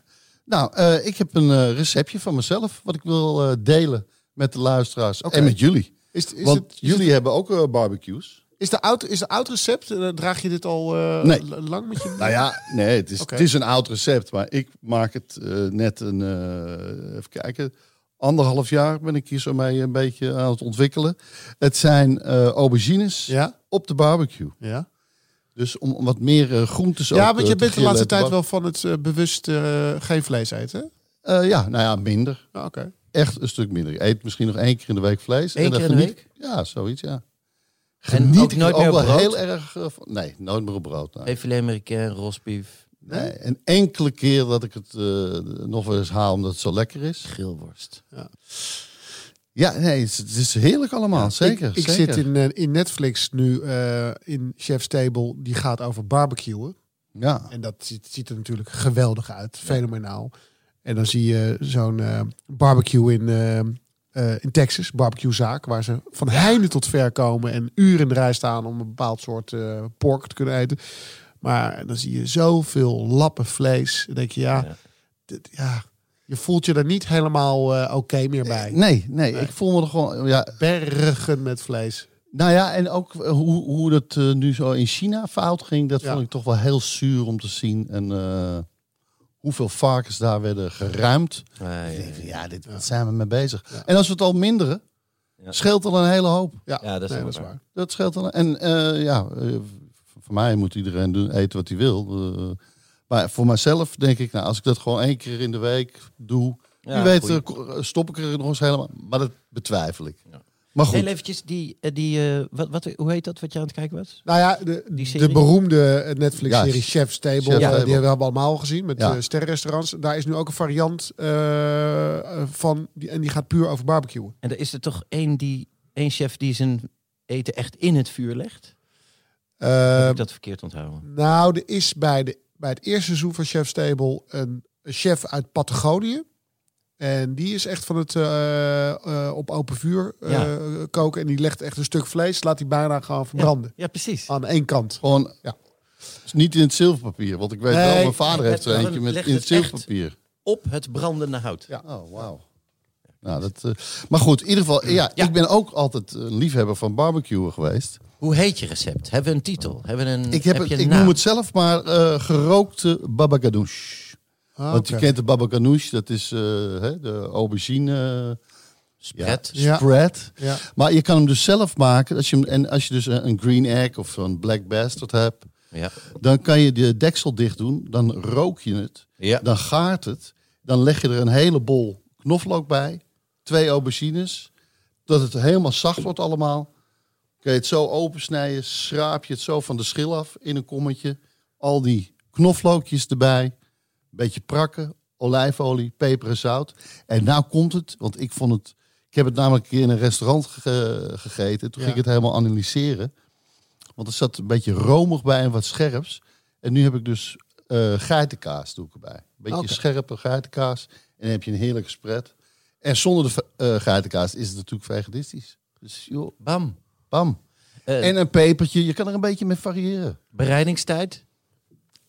S5: nou, eh, ik heb een eh, receptje van mezelf wat ik wil eh, delen met de luisteraars en met jullie.
S3: Is, is,
S5: Want
S3: het, is,
S5: jullie hebben ook eh, barbecues.
S3: is, de oud, is de oud recept? eh, draag je dit al eh,
S5: Nee.
S3: l- lang met je?
S5: Nou ja, nee, het is,
S3: Oké.
S5: het is een oud recept, maar ik maak het eh, net een, eh, even kijken, anderhalf jaar ben ik hier zo mee een beetje aan het ontwikkelen. Het zijn eh, aubergines
S3: Ja?
S5: op de barbecue.
S3: Ja,
S5: Dus om, om wat meer eh, groentes ook
S3: ja want
S5: eh,
S3: je
S5: te
S3: bent de
S5: grillen
S3: laatste
S5: en te
S3: tijd
S5: bakken.
S3: wel van het eh, bewust eh, geen vlees eten. hè?
S5: Eh, ja, nou ja, minder.
S3: Nou, Oké.
S5: Echt een stuk minder. Ik eet misschien nog één keer in de week vlees.
S4: Eén
S5: dan
S4: keer in de
S5: geniet- Ja, zoiets, ja.
S4: En
S5: Geniet
S4: ook
S5: ik
S4: nooit
S5: er
S4: meer op
S5: wel
S4: brood?
S5: heel erg eh, van. Nee, nooit meer op brood. nee.
S4: Even filet américain, rosbief,
S5: Nee, een enkele keer dat ik het eh, nog wel eens haal omdat het zo lekker is.
S4: grillworst.
S5: Ja, nee, het is, het is heerlijk allemaal, Ah, zeker.
S3: Ik, ik
S5: zeker.
S3: zit in, eh, in Netflix nu eh, in Chef's Table. Die gaat over barbecuen.
S5: Ja,
S3: En dat ziet, ziet er natuurlijk geweldig uit. Fenomenaal. En dan zie je zo'n eh, barbecue in, eh, eh, in Texas. Barbecuezaak. Waar ze van heinde tot ver komen. En uren in de rij staan om een bepaald soort eh pork te kunnen eten. Maar dan zie je zoveel lappen vlees. Dan denk je, ja,
S4: Ja.
S3: dit- ja je voelt je er niet helemaal eh, oké meer bij.
S5: nee, nee, ik voel me er gewoon... Ja,
S3: Bergen met vlees.
S5: nou ja, en ook eh, hoe, hoe dat eh, nu zo in China fout ging, dat
S3: Ja.
S5: vond ik toch wel heel zuur om te zien. En eh, hoeveel varkens daar werden geruimd.
S4: Nee,
S5: Ik denk van, ja, dit, wat zijn we mee bezig? En als we het al minderen,
S4: Ja.
S5: scheelt al een hele hoop.
S3: Ja,
S4: Ja, dat is
S3: nee,
S4: wel
S3: dat is
S4: waar.
S3: waar.
S5: Dat scheelt al. En eh, ja, eh, v- voor mij moet iedereen doen, eten wat hij wil. Eh, maar voor mijzelf denk ik, nou, als ik dat gewoon één keer in de week doe,
S4: Ja,
S5: wie weet
S4: goeie.
S5: eh, ko- eh, stop ik er nog eens helemaal. Maar dat betwijfel ik.
S4: Ja.
S5: Maar goed,
S4: Heel eventjes, die, eh, die, eh, wat, wat, hoe heet dat wat je aan het kijken was?
S3: Nou ja, de, de
S4: Die serie?
S3: beroemde Netflix-serie
S5: Ja,
S3: Chef's Table,
S5: Chef's
S3: eh,
S5: Table.
S3: die hebben we allemaal gezien met
S5: Ja.
S3: eh, sterrenrestaurants. Daar is nu ook een variant eh, eh, van, die, en die gaat puur over barbecuen.
S4: En er is er toch één, die, één chef die zijn eten echt in het vuur legt? Heb
S3: Eh,
S5: Ehm,
S4: ik dat verkeerd onthouden?
S3: nou, er is bij, de, bij het eerste seizoen van Chef's Table een chef uit Patagonië. En die is echt van het eh, eh, op open vuur eh,
S4: Ja.
S3: koken. En die legt echt een stuk vlees, laat die bijna gaan verbranden.
S4: Ja, precies.
S3: Aan één kant.
S5: gewoon
S3: Ja.
S5: het is niet in het zilverpapier. Want ik weet
S3: Nee,
S5: wel, mijn vader heeft
S4: het-
S5: er eentje met
S4: legt
S5: in het
S4: het echt-
S5: zilverpapier.
S4: Op het brandende hout.
S3: Ja.
S5: Oh, wauw. Nou, dat, eh, maar goed, in ieder geval, ja,
S4: Ja.
S5: ik ben ook altijd een liefhebber van barbecuen geweest.
S4: Hoe heet je recept? Hebben we een titel? Hebben we een,
S5: Ik, heb
S4: heb
S5: het,
S4: je een
S5: ik
S4: naam?
S5: noem het zelf maar eh, gerookte babaganoush.
S3: Ah,
S5: Want
S3: oké.
S5: je kent de babaganoush, dat is eh, hè, de aubergine eh,
S4: Spread.
S3: Ja.
S5: spread.
S3: Ja.
S5: Maar je kan hem dus zelf maken. Als je hem, en als je dus een, een green egg of zo'n black bastard hebt,
S4: Ja.
S5: dan kan je de deksel dicht doen. Dan rook je het.
S4: Ja.
S5: Dan gaart het. Dan leg je er een hele bol knoflook bij. Twee aubergines. Dat het helemaal zacht wordt allemaal. Kun je het zo opensnijden. Schraap je het zo van de schil af in een kommetje. Al die knoflookjes erbij. Beetje prakken. Olijfolie, peper en zout. En nou komt het. Want ik vond het... Ik heb het namelijk een keer in een restaurant ge- gegeten. Toen ging ik het helemaal analyseren. Want er zat een beetje romig bij en wat scherps. En nu heb ik dus eh, geitenkaas doe ik erbij. Een beetje
S3: Oké.
S5: scherpe geitenkaas. En dan heb je een heerlijke spread. En zonder de ve- eh, geitenkaas is het natuurlijk veganistisch. Dus joh,
S4: Bam.
S5: bam.
S4: Eh,
S5: en een pepertje. Je kan er een beetje mee variëren.
S4: Bereidingstijd?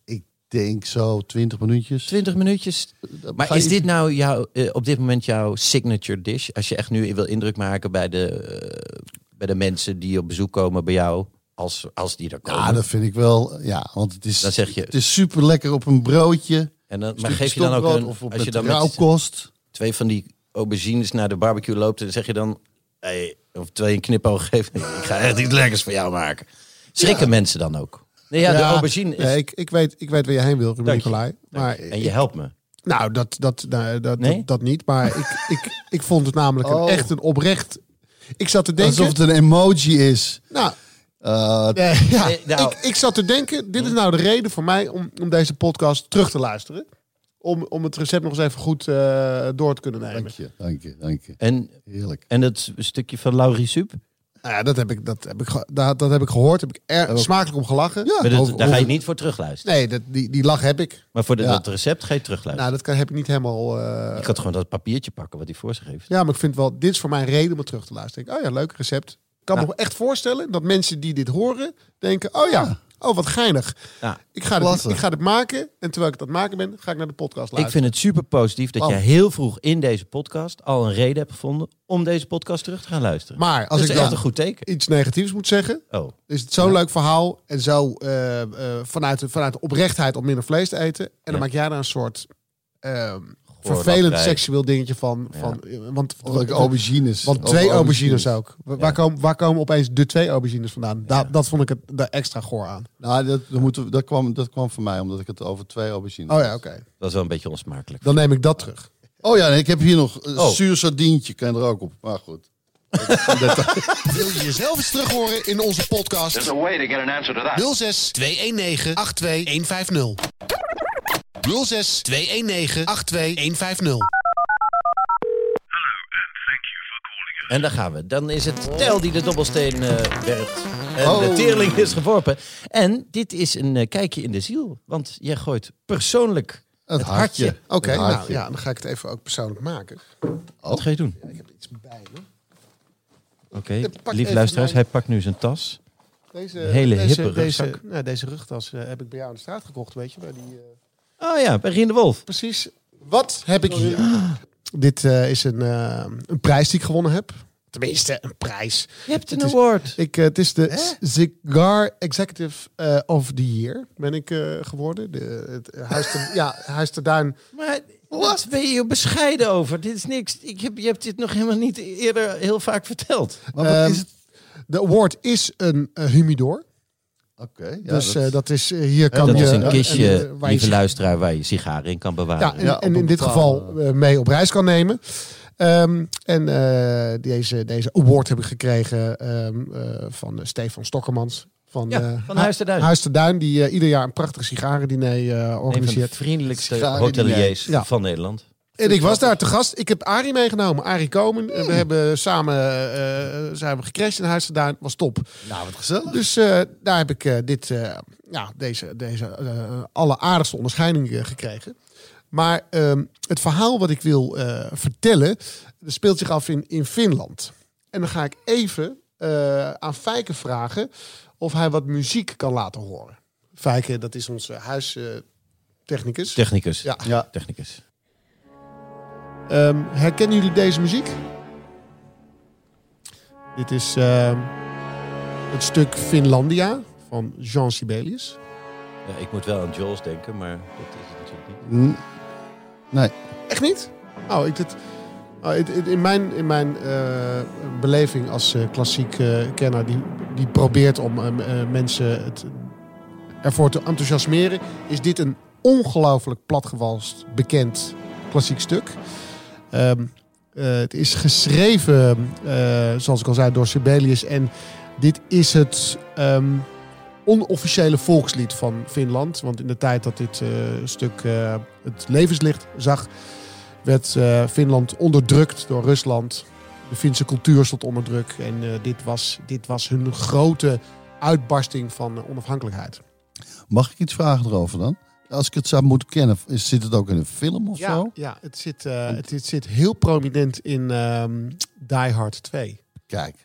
S5: Ik denk zo 20 minuutjes. eh,
S4: 20 minuutjes. Maar
S5: ga
S4: is
S5: je-
S4: dit nou jouw, eh, op dit moment jouw signature dish? Als je echt nu wil indruk maken bij de, eh, bij de mensen die op bezoek komen bij jou, als, als die er komen.
S5: Ja, dat vind ik wel. Ja, want het is,
S4: Dan zeg je-
S5: het is super lekker op een broodje.
S4: en dan, maar
S5: Stukje
S4: geef je dan ook
S5: stokbrood
S4: een,
S5: of op
S4: als je
S5: met
S4: dan met
S5: rauwkost.
S4: twee van die aubergines naar de barbecue loopt, dan zeg je dan, hey, of twee een knipoog geeft, ik ga echt iets lekkers voor jou maken. Schrikken mensen dan ook? Nee, ja, de aubergine is...
S3: Nee, ik, ik, weet, ik weet waar je heen wil, Ruben
S4: Dank je.
S3: Nicolai. Maar
S4: en je helpt me.
S3: Nou, dat, dat, nou, dat,
S4: Nee?
S3: dat, dat niet. Maar ik, ik, ik vond het namelijk een,
S5: Oh.
S3: echt een oprecht... Ik zat te denken...
S5: Alsof het een emoji is.
S3: Nou,
S5: Eh,
S3: nee, ja,
S4: Nee, nou.
S3: ik, ik zat te denken... Dit is nou de reden voor mij om, om deze podcast terug te luisteren. Om, om het recept nog eens even goed eh, door te kunnen
S5: dank
S3: nemen.
S5: je, dank je, dank je.
S4: En,
S5: Heerlijk.
S4: en het stukje van Laurie Soep?
S3: Nou ja, dat heb ik, dat heb ik, ge- dat, dat heb ik gehoord. Heb ik
S5: Oh.
S3: er smakelijk om gelachen.
S4: Maar dat-
S3: Over-
S4: daar ga je
S3: over-
S4: niet voor terugluisteren.
S3: Nee, dat, die, die lach heb ik.
S4: Maar voor de-
S5: Ja.
S4: dat recept ga je terugluisteren.
S3: Nou, dat kan, heb ik niet helemaal... eh,
S4: ik had gewoon dat papiertje pakken wat hij voor zich heeft.
S3: Ja, maar ik vind wel, dit is voor mij een reden om het terug te luisteren. Ik denk, oh ja, leuk recept. Ik kan me echt voorstellen dat mensen die dit horen denken, oh ja, oh wat geinig.
S4: Ja.
S3: Ik, ga dit,
S5: Klasse.
S3: ik ga dit maken en terwijl ik dat maken ben, ga ik naar de podcast luisteren.
S4: Ik vind het super positief dat
S5: Bam.
S4: jij heel vroeg in deze podcast al een reden hebt gevonden om deze podcast terug te gaan luisteren.
S3: maar
S4: dat
S3: als
S4: is
S3: ik dan
S4: echt een goed teken.
S3: iets negatiefs moet zeggen,
S4: Oh,
S3: is het zo'n leuk verhaal en zo eh, eh, vanuit, de, vanuit de oprechtheid om minder vlees te eten. En dan
S4: Ja.
S3: maak jij daar een soort ehm, vervelend
S4: wij-
S3: seksueel dingetje van. van eh, Want,
S5: Ook aubergines.
S3: want
S5: Ook
S3: twee aubergines ook. Wa-
S4: Ja.
S3: Waar, komen, waar komen opeens de twee aubergines vandaan? Da- dat vond ik het daar extra goor aan.
S5: Nou, dat, dat, moeten we- dat, kwam, dat kwam van mij, omdat ik het over twee aubergines
S3: Oh ja, oké.
S4: dat is wel een beetje onsmakelijk.
S3: Dan neem ik dat terug.
S5: Oh ja, en ik heb hier nog een
S4: Oh.
S5: zuur sardientje. Kan je er ook op. Maar goed.
S3: Wil je jezelf eens terug horen in onze podcast?
S6: There's a way to get an answer to that.
S3: 06 219 82150. 06 219 82150.
S4: En daar gaan we. Dan is het Tel die de dobbelsteen eh, werpt. En
S5: Oh.
S4: de teerling is geworpen. En dit is een eh, kijkje in de ziel. Want jij gooit persoonlijk het, hartje.
S3: Oké,
S5: Een
S3: nou
S5: hartje.
S3: ja, dan ga ik het even ook persoonlijk maken.
S4: Wat ga je doen?
S3: Ik heb iets bij me.
S4: Oké,
S3: pak
S4: lief
S3: even
S4: luisteraars,
S3: mijn-
S4: hij pakt nu zijn tas.
S3: Deze,
S4: Een hele
S3: deze,
S4: hippe
S3: deze,
S4: rugzak.
S3: nou, deze rugtas eh, heb ik bij jou aan de straat gekocht, weet je. Bij die, eh,
S4: Oh ja, bij Rien de Wolf.
S3: precies. Wat heb ik hier? Dit eh, is een, eh, een prijs die ik gewonnen heb. Tenminste, een prijs.
S4: Je hebt een
S3: Het is-
S4: award.
S3: Ik, eh, het is de Cigar Executive eh, of the Year, ben ik eh, geworden. De, het Huis te, ja, Huis te Duin.
S4: Maar wat ben je hier bescheiden over? Dit is niks. Ik heb, je hebt dit nog helemaal niet eerder heel vaak verteld.
S5: Maar wat
S3: Ehm,
S5: is het?
S3: De award is een eh, humidor.
S5: Oké. ja,
S3: dus eh,
S5: dat-
S3: dat, is, eh, hier kan
S4: dat
S3: je...
S4: is een
S3: eh,
S4: kistje,
S3: eh, waar je
S4: lieve luisteraar, waar je sigaren in kan bewaren.
S3: Ja, en,
S5: Ja, op
S3: en
S5: een
S3: in dit
S5: bepaalde-
S3: geval eh, mee op reis kan nemen. Ehm, en eh, deze, deze award heb ik gekregen ehm, eh, van eh, Stefan Stokkermans. Van,
S4: Ja,
S3: eh,
S4: van Huis te Duin.
S3: Huis te Duin, die eh, ieder jaar een prachtig sigarendiner eh,
S4: een van de
S3: organiseert.
S4: vriendelijkste
S5: Sigaren
S4: hoteliers
S3: die jij- Ja.
S4: van Nederland.
S3: En ik was daar te gast. Ik heb Arie meegenomen, Arie Komen. En
S5: Hmm.
S3: We hebben samen eh, zijn we gecrashed in Huis te Duin. Was top.
S5: nou, wat gezellig.
S3: Dus eh, daar heb ik eh, dit, eh, ja, deze, deze eh alleraardigste onderscheiding eh, gekregen. Maar ehm, het verhaal wat ik wil eh, vertellen, dat speelt zich af in, in Finland. En dan ga ik even eh, aan Fijke vragen of hij wat muziek kan laten horen. Fijke, dat is onze huistechnicus.
S4: Technicus.
S3: Ja.
S5: Ja.
S4: Technicus.
S3: Ehm, herkennen jullie deze muziek? Dit is ehm, het stuk Finlandia van Jean Sibelius.
S4: Ja, ik moet wel aan Jules denken, maar dat is het natuurlijk niet.
S5: Hm. Nee.
S3: Echt niet? Oh, ik dit. oh, het- het- in mijn, in mijn eh, beleving als eh, klassiek eh, kenner, die, die probeert om eh, m- eh, mensen het, ervoor te enthousiasmeren, is dit een ongelooflijk platgewalst bekend klassiek stuk. Ehm, eh, het is geschreven, eh, zoals ik al zei, door Sibelius. En dit is het ehm, onofficiële volkslied van Finland. Want in de tijd dat dit eh, stuk eh, het levenslicht zag, werd eh, Finland onderdrukt door Rusland. De Finse cultuur stond onder druk. En eh, dit, was, dit was hun grote uitbarsting van eh, onafhankelijkheid.
S5: Mag ik iets vragen erover dan? Als ik het zou moeten kennen, is, zit het ook in een film of
S3: Ja,
S5: zo?
S3: ja het, zit, eh, het, het zit heel prominent in ehm, Die Hard 2.
S5: Kijk.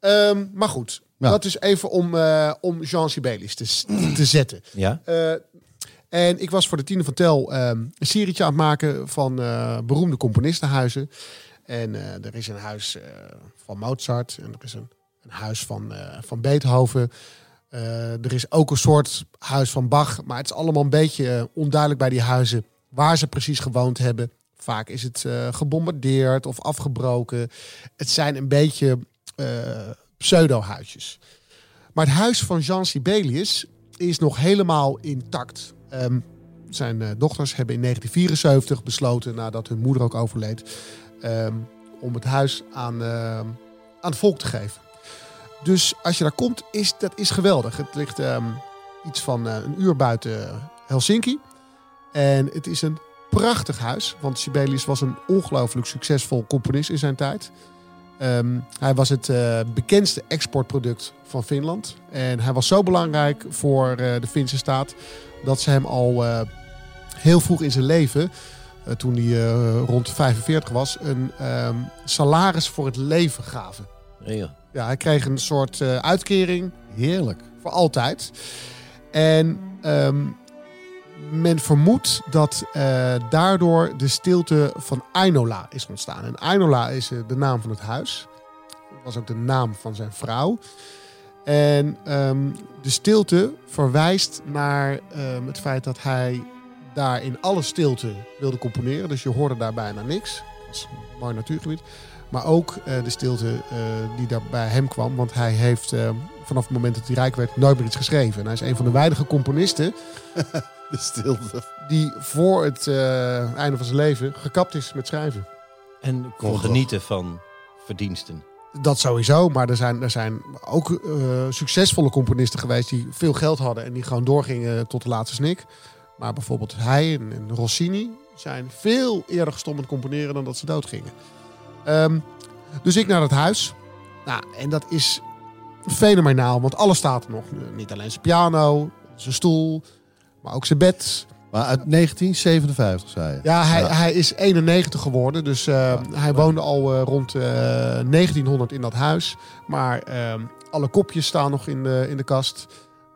S3: Ehm, maar goed,
S5: Ja.
S3: dat is even om, eh, om Jean Sibelius te, s- te zetten.
S4: Ja?
S3: Eh, en ik was voor de Tiende van Tel ehm, een serietje aan het maken van eh, beroemde componistenhuizen. En eh, er is een huis eh, van Mozart en er is een, een huis van, eh, van Beethoven. Eh, er is ook een soort huis van Bach, maar het is allemaal een beetje eh, onduidelijk bij die huizen waar ze precies gewoond hebben. Vaak is het eh, gebombardeerd of afgebroken. Het zijn een beetje eh, pseudo-huisjes. Maar het huis van Jean Sibelius is nog helemaal intact. Ehm, zijn eh, dochters hebben in 1974 besloten, nadat hun moeder ook overleed, ehm, om het huis aan, ehm, aan het volk te geven. Dus als je daar komt, is dat is geweldig. Het ligt ehm, iets van eh, een uur buiten Helsinki. En het is een prachtig huis, want Sibelius was een ongelooflijk succesvol componist in zijn tijd. Ehm, hij was het eh, bekendste exportproduct van Finland. En hij was zo belangrijk voor eh, de Finse staat dat ze hem al eh, heel vroeg in zijn leven, eh, toen hij eh, rond 45 was, een ehm, salaris voor het leven gaven.
S4: Ja.
S3: Ja, hij kreeg een soort eh, uitkering
S5: Heerlijk.
S3: Voor altijd. En ehm, men vermoedt dat eh, daardoor de stilte van Ainola is ontstaan. En Ainola is eh, de naam van het huis. Dat was ook de naam van zijn vrouw. En ehm, de stilte verwijst naar ehm, het feit dat hij daar in alle stilte wilde componeren. Dus je hoorde daar bijna niks. Dat was een mooi natuurgebied. Maar ook eh, de stilte eh, die daar bij hem kwam. Want hij heeft eh, vanaf het moment dat hij rijk werd nooit meer iets geschreven. En hij is een van de weinige componisten
S5: De stilte.
S3: die voor het eh, einde van zijn leven gekapt is met schrijven.
S4: En kon
S5: Toch.
S4: genieten van verdiensten.
S3: Dat sowieso, maar er zijn, er zijn ook eh, succesvolle componisten geweest die veel geld hadden en die gewoon doorgingen tot de laatste snik. Maar bijvoorbeeld hij en, en Rossini zijn veel eerder gestopt met componeren dan dat ze doodgingen. Ehm, dus ik naar dat huis. Nou, en dat is fenomenaal, want alles staat er nog. Niet alleen zijn piano, zijn stoel, maar ook zijn bed,
S5: Maar uit 1957, zei je.
S3: Ja, hij, hij is 91 geworden. Dus eh, hij woonde al eh, rond eh, 1900 in dat huis. Maar ehm, alle kopjes staan nog in de, in de kast.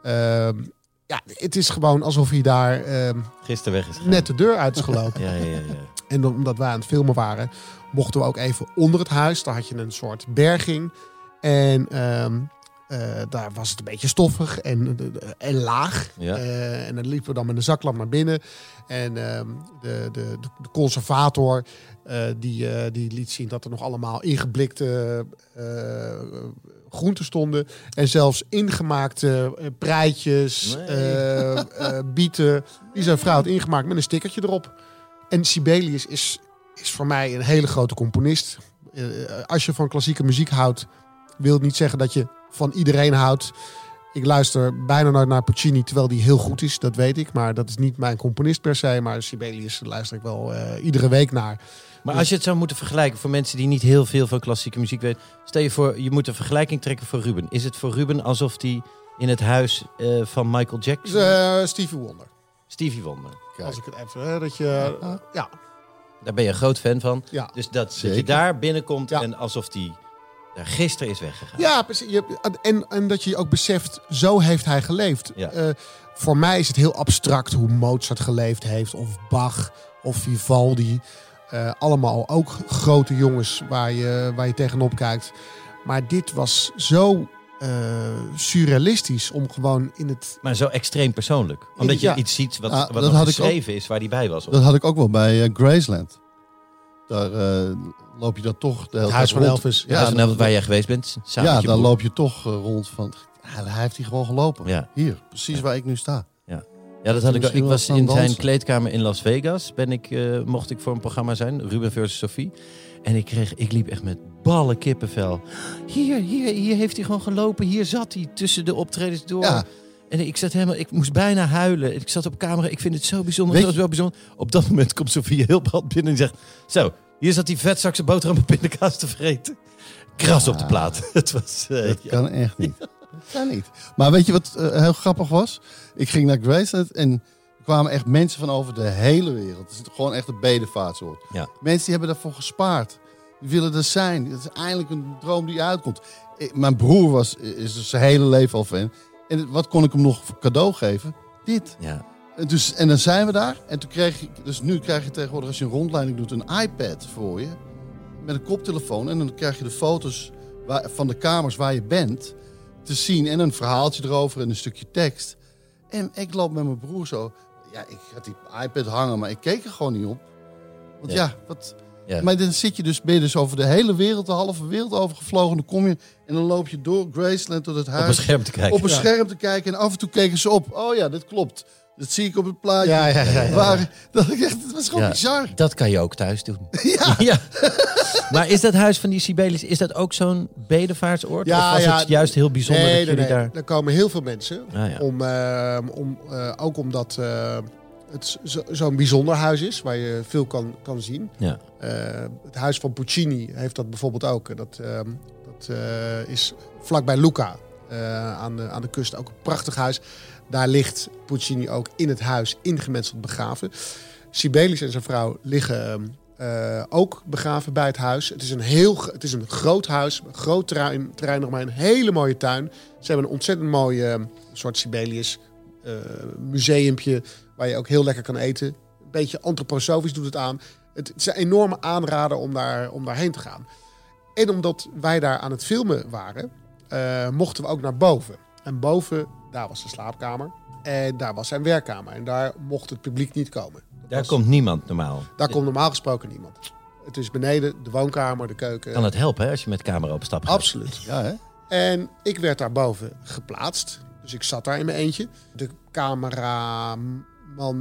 S3: Ehm, ja, het is gewoon alsof hij daar ehm,
S4: Gisteren weg is gegaan.
S3: net de deur uit is gelopen.
S4: Ja, ja, ja.
S3: En dan- omdat wij aan het filmen waren, mochten we ook even onder het huis. Daar had je een soort berging. En ehm, eh, daar was het een beetje stoffig en, eh, en laag.
S4: Ja.
S3: Eh, en dan liepen we dan met een zaklamp naar binnen. En ehm, de, de, de, de conservator eh, die, eh, die liet zien dat er nog allemaal ingeblikte eh, groenten stonden. En zelfs ingemaakte eh, preitjes,
S4: Nee.
S3: eh, eh, bieten. Die zijn vrouw had ingemaakt met een stickertje erop. En Sibelius is, is voor mij een hele grote componist. Eh, als je van klassieke muziek houdt, wil het niet zeggen dat je van iedereen houdt. Ik luister bijna nooit naar Puccini, terwijl die heel goed is, dat weet ik. Maar dat is niet mijn componist per se. Maar Sibelius luister ik wel eh, iedere week naar.
S4: Maar als je het zou moeten vergelijken voor mensen die niet heel veel van klassieke muziek weten. Stel je voor, je moet een vergelijking trekken voor Ruben. Is het voor Ruben alsof hij in het huis eh, van Michael
S3: Dus,
S4: Jackson,
S3: eh, Stevie Wonder.
S4: Stevie Wonder.
S5: Kijk.
S3: Als ik het even. Hè, dat je, ja,
S4: Daar ben je een groot fan van.
S3: ja.
S4: Dus dat, dat je
S5: Zeker.
S4: daar binnenkomt
S3: Ja.
S4: en alsof die daar gisteren is weggegaan.
S3: Ja, precies. Je- En, en dat je ook beseft, zo heeft hij geleefd.
S4: Ja.
S3: Eh, voor mij is het heel abstract hoe Mozart geleefd heeft, of Bach, of Vivaldi. Eh, allemaal ook grote jongens waar je, waar je tegenop kijkt. Maar dit was zo eh, surrealistisch om gewoon in het.
S4: Maar zo extreem persoonlijk. Omdat je
S3: Ja.
S4: iets ziet wat,
S5: Ah,
S4: wat
S5: dat
S4: nog
S5: had ik
S4: geschreven is waar hij bij was.
S5: Dat had ik ook wel bij eh, Graceland. Daar eh, loop je dan toch de hele
S3: Het huis
S5: tijd
S3: van
S5: rond.
S3: Elvis.
S4: Ja,
S5: Ja,
S4: vanavond nou waar jij geweest bent. Samen
S5: ja
S4: met je
S5: dan
S4: broer.
S5: loop je toch eh, rond van... Ja, hij heeft hier gewoon gelopen.
S4: Ja.
S5: Hier, precies waar ik nu sta.
S4: Ja, dat had ik ook. Ik
S5: Misschien
S4: was
S5: wel
S4: in
S5: gaan
S4: zijn
S5: dansen.
S4: kleedkamer in Las Vegas. Ben ik, eh, mocht ik voor een programma zijn, Ruben versus Sophie. En ik, kreeg, ik liep echt met ballen kippenvel. Hier, hier, hier heeft hij gewoon gelopen. Hier zat hij tussen de optredens door.
S5: Ja.
S4: En ik zat helemaal, ik moest bijna huilen. Ik zat op camera. Ik vind het zo bijzonder.
S5: Weet
S4: Zo,
S5: je-
S4: wel bijzonder. Op dat moment komt Sophie heel pad binnen en zegt: Zo, hier zat die vetzak zijn boterham en pindakaas te vreten. Kras
S5: Ah.
S4: op de plaat. het was. eh,
S5: Dat
S4: ja.
S5: kan echt niet. Dat kan niet. Maar weet je wat eh, heel grappig was? Ik ging naar Graceland en er kwamen echt mensen van over de hele wereld. Het is gewoon echt een bedevaartsoord.
S4: Ja.
S5: Mensen die hebben daarvoor gespaard. Die willen er zijn. Dat is eindelijk een droom die uitkomt. Ik- mijn broer was, is dus zijn hele leven al fan. En wat kon ik hem nog voor cadeau geven? Dit.
S4: ja.
S5: En, dus, en dan zijn we daar. En toen kreeg ik, dus nu krijg je tegenwoordig als je een rondleiding doet een iPad voor je. Met een koptelefoon. En dan krijg je de foto's waar- van de kamers waar je bent te zien. En een verhaaltje erover en een stukje tekst. En ik loop met mijn broer zo. Ja, ik had die iPad hangen, maar ik keek er gewoon niet op. Want ja, wat...
S4: Ja.
S5: Maar dan zit je dus, ben je dus over de hele wereld, de halve wereld over gevlogen. Dan kom je en dan loop je door Graceland tot het huis.
S4: een scherm te kijken.
S5: Op een
S4: Ja.
S5: scherm te kijken. En af en toe keken ze op. Oh ja, dat klopt. Dat zie ik op het plaatje.
S3: Ja, ja, ja, ja.
S5: Waar, dat, ik echt- het was gewoon
S4: Ja,
S5: bizar.
S4: Dat kan je ook thuis doen. Ja. Maar is dat huis van die Sibelius, is dat ook zo'n bedevaartsoord? of was het juist heel bijzonder
S3: Nee,
S4: dat
S3: nee,
S4: jullie
S3: nee.
S4: daar...
S3: Er komen heel veel mensen.
S4: Ah, ja.
S3: om, ehm, om, eh, ook omdat eh, het zo- zo'n bijzonder huis is waar je veel kan, kan zien.
S4: Ja.
S3: Eh, het huis van Puccini heeft dat bijvoorbeeld ook. Dat, ehm, dat eh, is vlakbij Lucca eh, aan, de, aan de kust. Ook een prachtig huis. Daar ligt Puccini ook in het huis ingemetseld begraven. Sibelius en zijn vrouw liggen ehm, eh, ook begraven bij het huis. Het is een, heel, gro- het is een groot huis, een groot terrein, terrein eromheen, een hele mooie tuin. Ze hebben een ontzettend mooi eh, soort Sibelius eh, museumpje waar je ook heel lekker kan eten. Een beetje antroposofisch doet het aan. Het, het is een enorme aanrader om, daar, om daarheen te gaan. En omdat wij daar aan het filmen waren, eh, mochten we ook naar boven. En boven, daar was de slaapkamer. En daar was zijn werkkamer. En daar mocht het publiek niet komen. Dat
S4: Daar
S3: was-
S4: komt niemand normaal.
S3: daar komt normaal gesproken niemand. Het is beneden, de woonkamer, de keuken.
S4: Kan het helpen hè, als je met camera op stap gaat?
S3: Absoluut.
S5: Ja, hè?
S3: En ik werd daarboven geplaatst. Dus ik zat daar in mijn eentje. De cameraman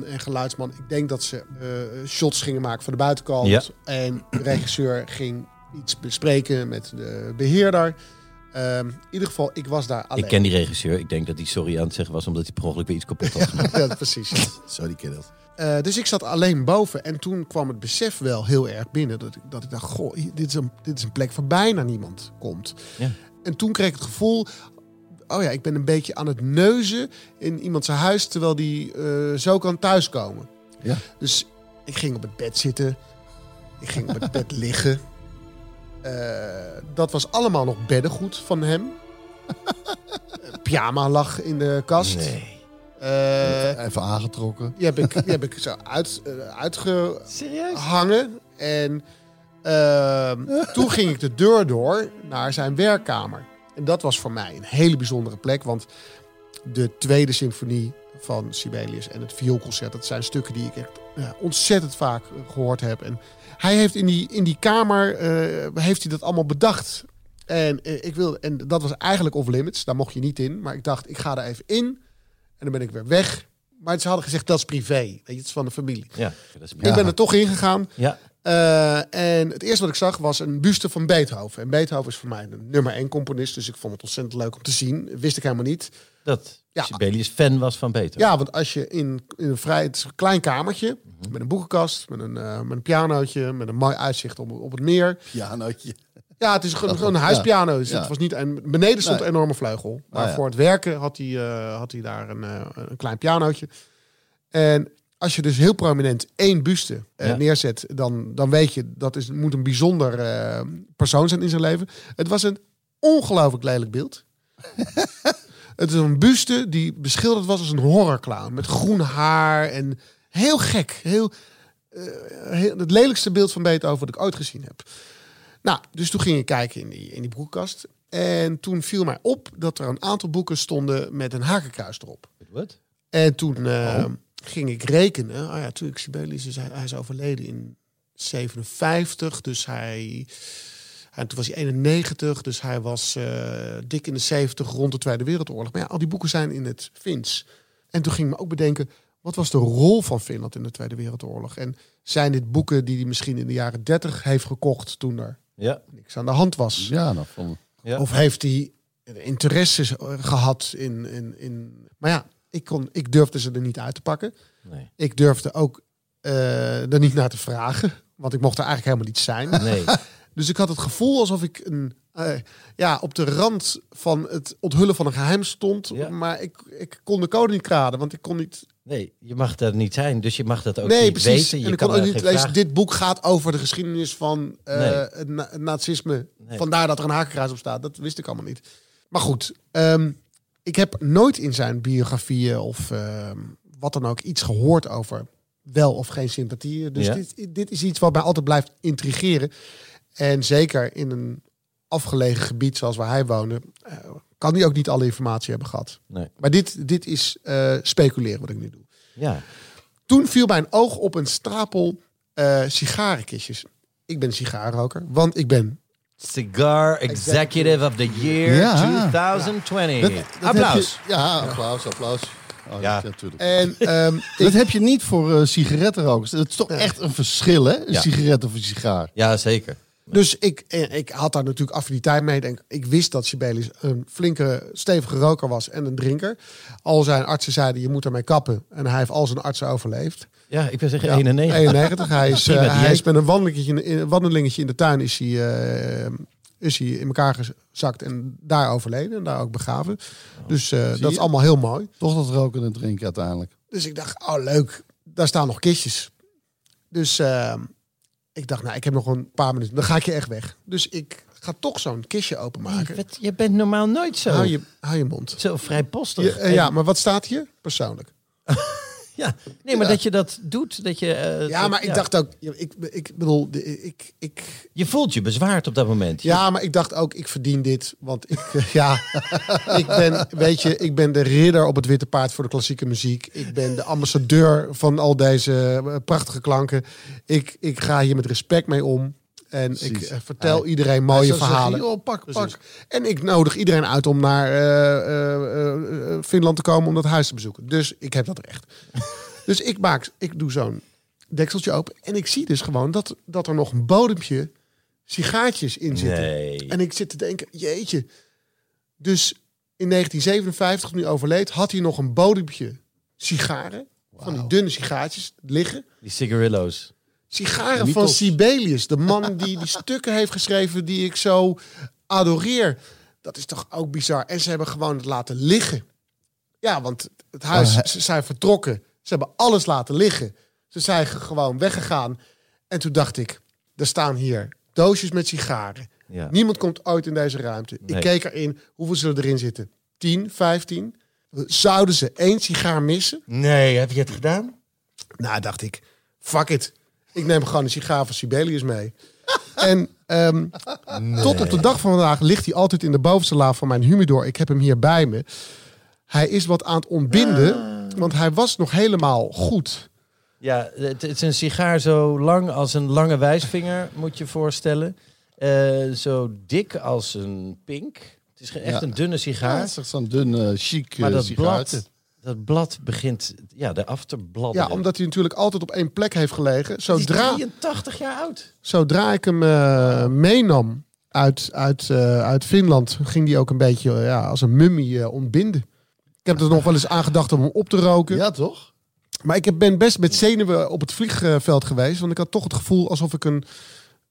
S3: en geluidsman, ik denk dat ze eh, shots gingen maken van de buitenkant.
S4: Ja.
S3: En de regisseur ging iets bespreken met de beheerder. Ehm, in ieder geval, ik was daar alleen.
S4: Ik ken die regisseur. Ik denk dat hij sorry aan het zeggen was omdat hij per ongeluk weer iets kapot had gemaakt.
S3: Ja, precies.
S5: Zo, die kerel.
S3: Eh, dus ik zat alleen boven. En toen kwam het besef wel heel erg binnen. Dat ik, dat ik dacht, goh, hi- dit is, een, dit is een plek waar bijna niemand komt.
S4: Ja.
S3: En toen kreeg ik het gevoel... Oh ja, ik ben een beetje aan het neuzen in iemand zijn huis... terwijl die eh, zo kan thuiskomen.
S5: Ja.
S3: Dus ik ging op het bed zitten. Ik ging op het bed liggen. Eh, dat was allemaal nog beddengoed van hem. Pyjama lag in de kast.
S4: Nee.
S3: Eh,
S5: Even aangetrokken.
S3: die heb ik, die heb ik zo uit, eh,
S4: Serieus?
S3: uitgehangen. En ehm, toen ging ik de deur door naar zijn werkkamer. En dat was voor mij een hele bijzondere plek. Want de tweede symfonie van Sibelius en het vioolconcert... dat zijn stukken die ik echt eh, ontzettend vaak eh, gehoord heb. En hij heeft in die, in die kamer eh, heeft hij dat allemaal bedacht. En, eh, ik wil, en dat was eigenlijk off-limits. Daar mocht je niet in. Maar ik dacht, ik ga er even in. En dan ben ik weer weg. Maar ze hadden gezegd, dat is privé. Weet je, het is van de familie.
S4: Ja, dat is
S3: Ik ben er toch ingegaan.
S4: Ja,
S3: Eh, en het eerste wat ik zag was een buste van Beethoven. En Beethoven is voor mij de nummer één componist. Dus ik vond het ontzettend leuk om te zien. Wist ik helemaal niet.
S4: dat
S3: Ja.
S4: Sibelius fan was van Beethoven.
S3: Ja, want als je in, in een vrij het is een klein kamertje... met een boekenkast, met een, eh, met een pianootje... met een mooi uitzicht op, op het meer...
S5: Pianootje.
S3: Ja, het is gewoon,
S5: Dat
S3: gewoon een
S5: was-
S3: huispiano. Dus
S5: ja.
S3: het was niet, en beneden stond
S5: Nee.
S3: een enorme vleugel. Maar
S5: Ah, ja.
S3: voor het werken had hij, eh, had hij daar een, eh, een klein pianootje. En als je dus heel prominent één buste eh,
S4: Ja.
S3: neerzet, dan, dan weet je dat is, moet een bijzonder eh, persoon zijn in zijn leven. Het was een ongelooflijk lelijk beeld. het is een buste die beschilderd was als een horrorclown. Met groen haar en heel gek. Heel, eh, heel, het lelijkste beeld van Beethoven dat ik ooit gezien heb. Nou, dus toen ging ik kijken in die, in die boekenkast. En toen viel mij op dat er een aantal boeken stonden met een hakenkruis erop.
S4: Wat?
S3: En toen eh, ging ik rekenen. Ah ja, natuurlijk, Sibelius is, hij, hij is overleden in 57. Dus hij, hij- toen was hij 91. Dus hij was eh, dik in de 70 rond de Tweede Wereldoorlog. Maar ja, al die boeken zijn in het Fins. En toen ging ik me ook bedenken... wat was de rol van Finland in de Tweede Wereldoorlog? En zijn dit boeken die hij misschien in de jaren 30 heeft gekocht... toen er
S4: Ja.
S3: niks aan de hand was?
S5: Ja, nou, van...
S4: Ja.
S3: Of heeft hij interesses eh, gehad in, in, in... Maar ja, ik, kon, ik durfde ze er niet uit te pakken.
S4: Nee.
S3: Ik durfde ook eh, er niet naar te vragen. Want ik mocht er eigenlijk helemaal niet zijn.
S4: Nee.
S3: Dus ik had het gevoel alsof ik een, eh, ja, op de rand van het onthullen van een geheim stond.
S4: Ja.
S3: Maar ik, ik kon de code niet kraden. Want ik kon niet...
S4: nee, je mag dat niet zijn, dus je mag dat ook
S3: nee,
S4: niet
S3: precies.
S4: weten. Je
S3: en ik
S4: kan
S3: kon ook
S4: daar
S3: niet
S4: geen
S3: lezen.
S4: vraag-
S3: Dit boek gaat over de geschiedenis van eh,
S4: Nee.
S3: het, na- het nazisme.
S4: Nee.
S3: Vandaar dat er een hakenkruis op staat. Dat wist ik allemaal niet. Maar goed, ehm, ik heb nooit in zijn biografieën of ehm, wat dan ook iets gehoord over wel of geen sympathieën. Dus
S4: Ja.
S3: dit, dit is iets wat mij altijd blijft intrigeren. En zeker in een afgelegen gebied zoals waar hij woonde, eh, kan hij ook niet alle informatie hebben gehad.
S4: Nee.
S3: Maar dit, dit is eh, speculeren wat ik nu doe.
S4: Ja.
S3: Toen viel mijn oog op een stapel eh, sigarenkistjes. Ik ben sigarenroker, want ik ben...
S4: Cigar Executive of the Year
S5: Ja.
S4: 2020.
S5: heb
S4: Applaus.
S5: je- ja, applaus, applaus. Oh,
S4: Ja.
S5: ja, natuurlijk.
S3: En ehm,
S5: dat heb je niet voor eh, sigarettenrokers. Dat is toch echt een verschil, hè? Een
S4: Ja.
S5: sigaret of een sigaar.
S4: Ja, zeker.
S3: Dus ik, eh, ik had daar natuurlijk affiniteit mee. Ik Denk, ik wist dat Sibelius een flinke, stevige roker was en een drinker. Al zijn artsen zeiden, je moet ermee kappen. En hij heeft al zijn artsen overleefd.
S4: Ja, ik wil zeggen
S3: Ja,
S4: 91.
S3: 91. Hij is, eh,
S4: Prima dieet.
S3: hij is met een wandelingetje in, in- wandelingetje in de tuin is hij, eh, is hij in elkaar gezakt en daar overleden. En daar ook begraven. Dus eh, dat is
S5: je?
S3: allemaal heel mooi.
S5: Toch dat roken en drinken uiteindelijk.
S3: Dus ik dacht, oh leuk, daar staan nog kistjes. Dus eh, Ik dacht, nou, ik heb nog een paar minuten. Dan ga ik je echt weg. Dus ik ga toch zo'n kistje openmaken.
S4: Wat, je bent normaal nooit zo,
S3: hou, Nou, je, hou je mond.
S4: zo vrijpostig.
S3: Je- eh, ja, maar wat staat hier? Persoonlijk.
S4: Ja. Nee, maar dat je dat doet, dat je... eh,
S3: Ja,
S4: dat-
S3: maar ik dacht ook... ja, Ik, ik bedoel, de- ik, ik...
S4: Je voelt je bezwaard op dat moment.
S3: Ja, maar ik dacht ook, ik verdien dit. Want ik, eh, ja, ik ben, weet je, ik ben de ridder op het witte paard voor de klassieke muziek. Ik ben de ambassadeur van al deze eh, prachtige klanken. Ik, ik ga hier met respect mee om. En ik
S5: Precies.
S3: eh, vertel iedereen mooie
S5: Hij zou zeggen,
S3: verhalen.
S5: joh, pak,
S3: Precies.
S5: pak.
S3: En ik nodig iedereen uit om naar eh, eh, eh, eh, Finland te komen om dat huis te bezoeken. Dus ik heb dat recht. dus ik maak, ik doe zo'n dekseltje open. En ik zie dus gewoon dat, dat er nog een bodempje sigaartjes in zitten.
S4: Nee.
S3: En ik zit te denken, jeetje. Dus in 1957, toen hij overleed, had hij nog een bodempje sigaren. Van die dunne sigaartjes liggen.
S4: Die cigarillo's.
S3: Sigaren van
S5: Mythos.
S3: Sibelius. De man die die stukken heeft geschreven die ik zo adoreer. Dat is toch ook bizar. En ze hebben gewoon het laten liggen. Ja, want het
S4: Oh,
S3: huis, ze zijn vertrokken. Ze hebben alles laten liggen. Ze zijn ge- gewoon weggegaan. En toen dacht ik, er staan hier doosjes met sigaren.
S4: Ja.
S3: Niemand komt ooit in deze ruimte.
S4: Nee.
S3: Ik keek erin, hoeveel zullen erin zitten? 10, 15? Zouden ze één sigaar missen?
S4: Nee, heb je het gedaan?
S3: Nou, dacht ik, fuck it. Ik neem gewoon een sigaar van Sibelius mee. En ehm, tot op de dag van vandaag ligt hij altijd in de bovenste laag van mijn humidor. Ik heb hem hier bij me. Hij is wat aan het ontbinden, want hij was nog helemaal goed.
S4: Ja, het, het is een sigaar zo lang als een lange wijsvinger, moet je voorstellen. Eh, zo dik als een pink. Het is ge- echt
S5: Ja.
S4: een dunne sigaar.
S5: Ja, het is echt zo'n dun, eh, chic
S4: maar
S5: eh,
S4: dat
S5: sigaartje.
S4: blad, dat blad begint ja, eraf te bladderen.
S3: Ja, omdat hij natuurlijk altijd op één plek heeft gelegen.
S4: Het Oh, is
S3: Zodra,
S4: 83 jaar oud.
S3: zodra ik hem eh, meenam uit, uit, eh, uit Finland, ging hij ook een beetje eh, ja, als een mummie eh, ontbinden. Ik heb er nog wel eens aan gedacht om hem op te roken.
S5: Ja, toch?
S3: Maar ik heb- ben best met zenuwen op het vliegveld geweest. Want ik had toch het gevoel alsof ik een,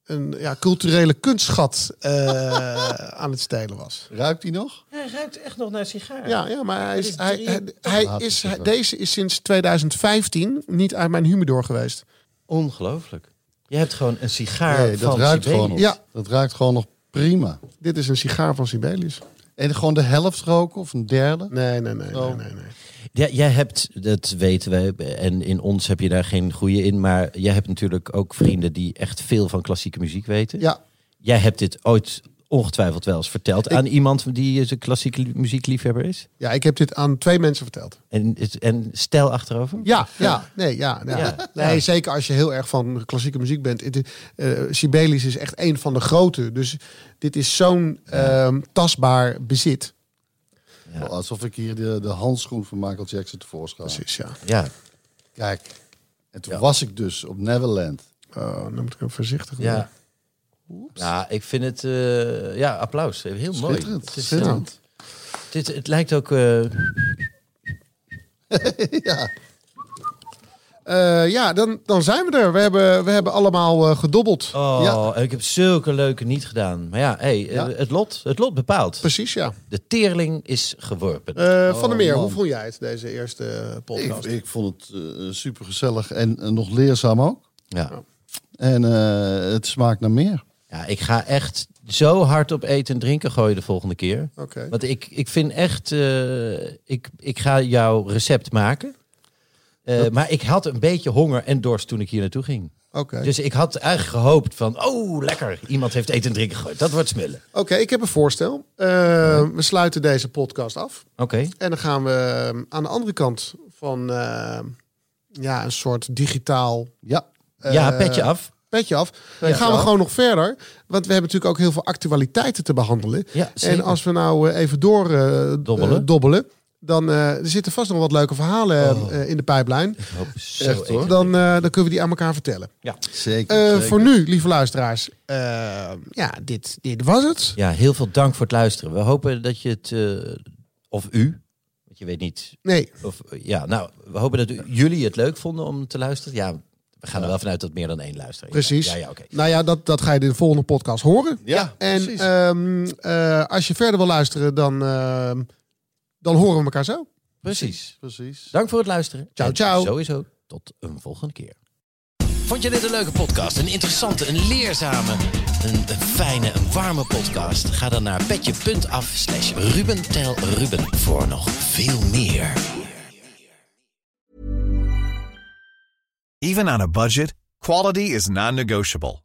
S3: een ja, culturele kunstschat eh, aan het stelen was.
S5: Ruikt hij nog?
S4: Hij ruikt echt nog naar sigaar.
S3: Ja, ja maar hij is,
S4: is
S3: hij, hij, hij is,
S5: Ah, dat is
S3: hij- deze is sinds 2015 niet uit mijn humidor geweest.
S4: Ongelooflijk. Je hebt gewoon een sigaar
S5: Nee,
S4: van
S5: dat ruikt
S4: Sibelius.
S5: gewoon nog.
S3: Ja.
S5: Dat ruikt gewoon nog prima.
S3: Dit is een sigaar van Sibelius.
S5: En gewoon de helft roken of een derde?
S3: Nee, nee, nee, nee,
S5: Oh.
S3: nee, nee.
S4: Ja, jij hebt, dat weten wij, en in ons heb je daar geen goede in, maar jij hebt natuurlijk ook vrienden die echt veel van klassieke muziek weten.
S3: Ja,
S4: Jij hebt dit ooit ongetwijfeld wel eens verteld aan iemand die een klassieke li- muziekliefhebber is.
S3: ja, ik heb dit aan twee mensen verteld.
S4: En, het- en stijl achterover.
S3: Ja, ja, nee, ja. ja.
S4: Ja,
S3: nee, Zeker als je heel erg van klassieke muziek bent. Het, eh, Sibelius is echt een van de grote. Dus dit is zo'n ehm, tastbaar bezit.
S5: Wel, Alsof ik hier de, de handschoen van Michael Jackson tevoorschijn haal.
S3: Precies, ja.
S4: Ja,
S5: Kijk. En toen was ik dus op Neverland.
S3: Oh, dan moet ik hem voorzichtig doen.
S4: ja. Ja, ik vind het, eh, ja, applaus. Heel mooi.
S5: Schitterend,
S4: Het, is,
S5: schitterend.
S4: eh, dit, het lijkt ook, eh,
S3: Eh, ja, dan, dan zijn we er. We hebben, we hebben allemaal eh, gedobbeld.
S4: oh,
S5: Ja.
S4: en ik heb zulke leuke niet gedaan. Maar ja, hey, eh,
S5: Ja.
S4: Het, lot, het lot bepaalt.
S3: Precies, ja.
S4: De teerling is geworpen.
S3: Eh, van der Meer,
S5: man.
S3: hoe vond jij het, deze eerste eh,
S5: Ik,
S3: podcast?
S5: ik vond het eh, supergezellig en eh, nog leerzaam ook.
S4: ja.
S5: En eh, het smaakt naar meer.
S4: Ja, ik ga echt zo hard op eten en drinken gooien de volgende keer.
S3: Oké.
S4: Want ik, ik vind echt, eh, ik, ik ga jouw recept maken. Eh, Maar ik had een beetje honger en dorst toen ik hier naartoe ging.
S3: Oké.
S4: Dus ik had eigenlijk gehoopt van, oh lekker, iemand heeft eten en drinken gegooid. Dat wordt smullen.
S3: Oké, ik heb een voorstel. Eh, We sluiten deze podcast af.
S4: Oké,
S3: En dan gaan we eh, aan de andere kant van eh, ja, een soort digitaal
S5: Ja,
S4: ja, petje af.
S3: petje af. Dan gaan we
S5: af.
S3: gewoon nog verder. Want we hebben natuurlijk ook heel veel actualiteiten te behandelen.
S4: Ja, zeker.
S3: en als we nou eh, even door eh, d-
S4: Dobbelen.
S3: eh, dobbelen, dan eh, er zitten vast nog wat leuke verhalen eh, eh, in de pijplijn.
S4: Ik hoop Oh. zo
S5: Echt,
S4: eten.
S5: hoor.
S3: Dan, eh, dan kunnen we die aan elkaar vertellen.
S4: Ja.
S5: zeker.
S3: Eh,
S5: zeker.
S3: voor nu, lieve luisteraars. eh, ja, dit, dit was het.
S4: ja, heel veel dank voor het luisteren. We hopen dat je het, eh, of u, want je weet niet
S3: Nee,
S4: Of, eh, ja, nou, we hopen dat u- jullie het leuk vonden om te luisteren. Ja, we gaan er wel vanuit dat meer dan één luisteren.
S3: precies.
S4: Ja, ja, oké.
S3: Nou ja, dat, dat ga je in de volgende podcast horen.
S5: Ja,
S3: En
S5: precies.
S3: ehm, eh, als je verder wil luisteren, dan, ehm, dan horen we elkaar zo.
S4: Precies.
S5: precies.
S4: Dank voor het luisteren.
S3: Ciao,
S4: En
S3: ciao.
S4: Sowieso tot een volgende keer. Vond je dit een leuke podcast? Een interessante, een leerzame, een, een fijne, een warme podcast? Ga dan naar petje.af slash Ruben tel Ruben voor nog veel meer.
S6: Even on a budget, quality is non-negotiable.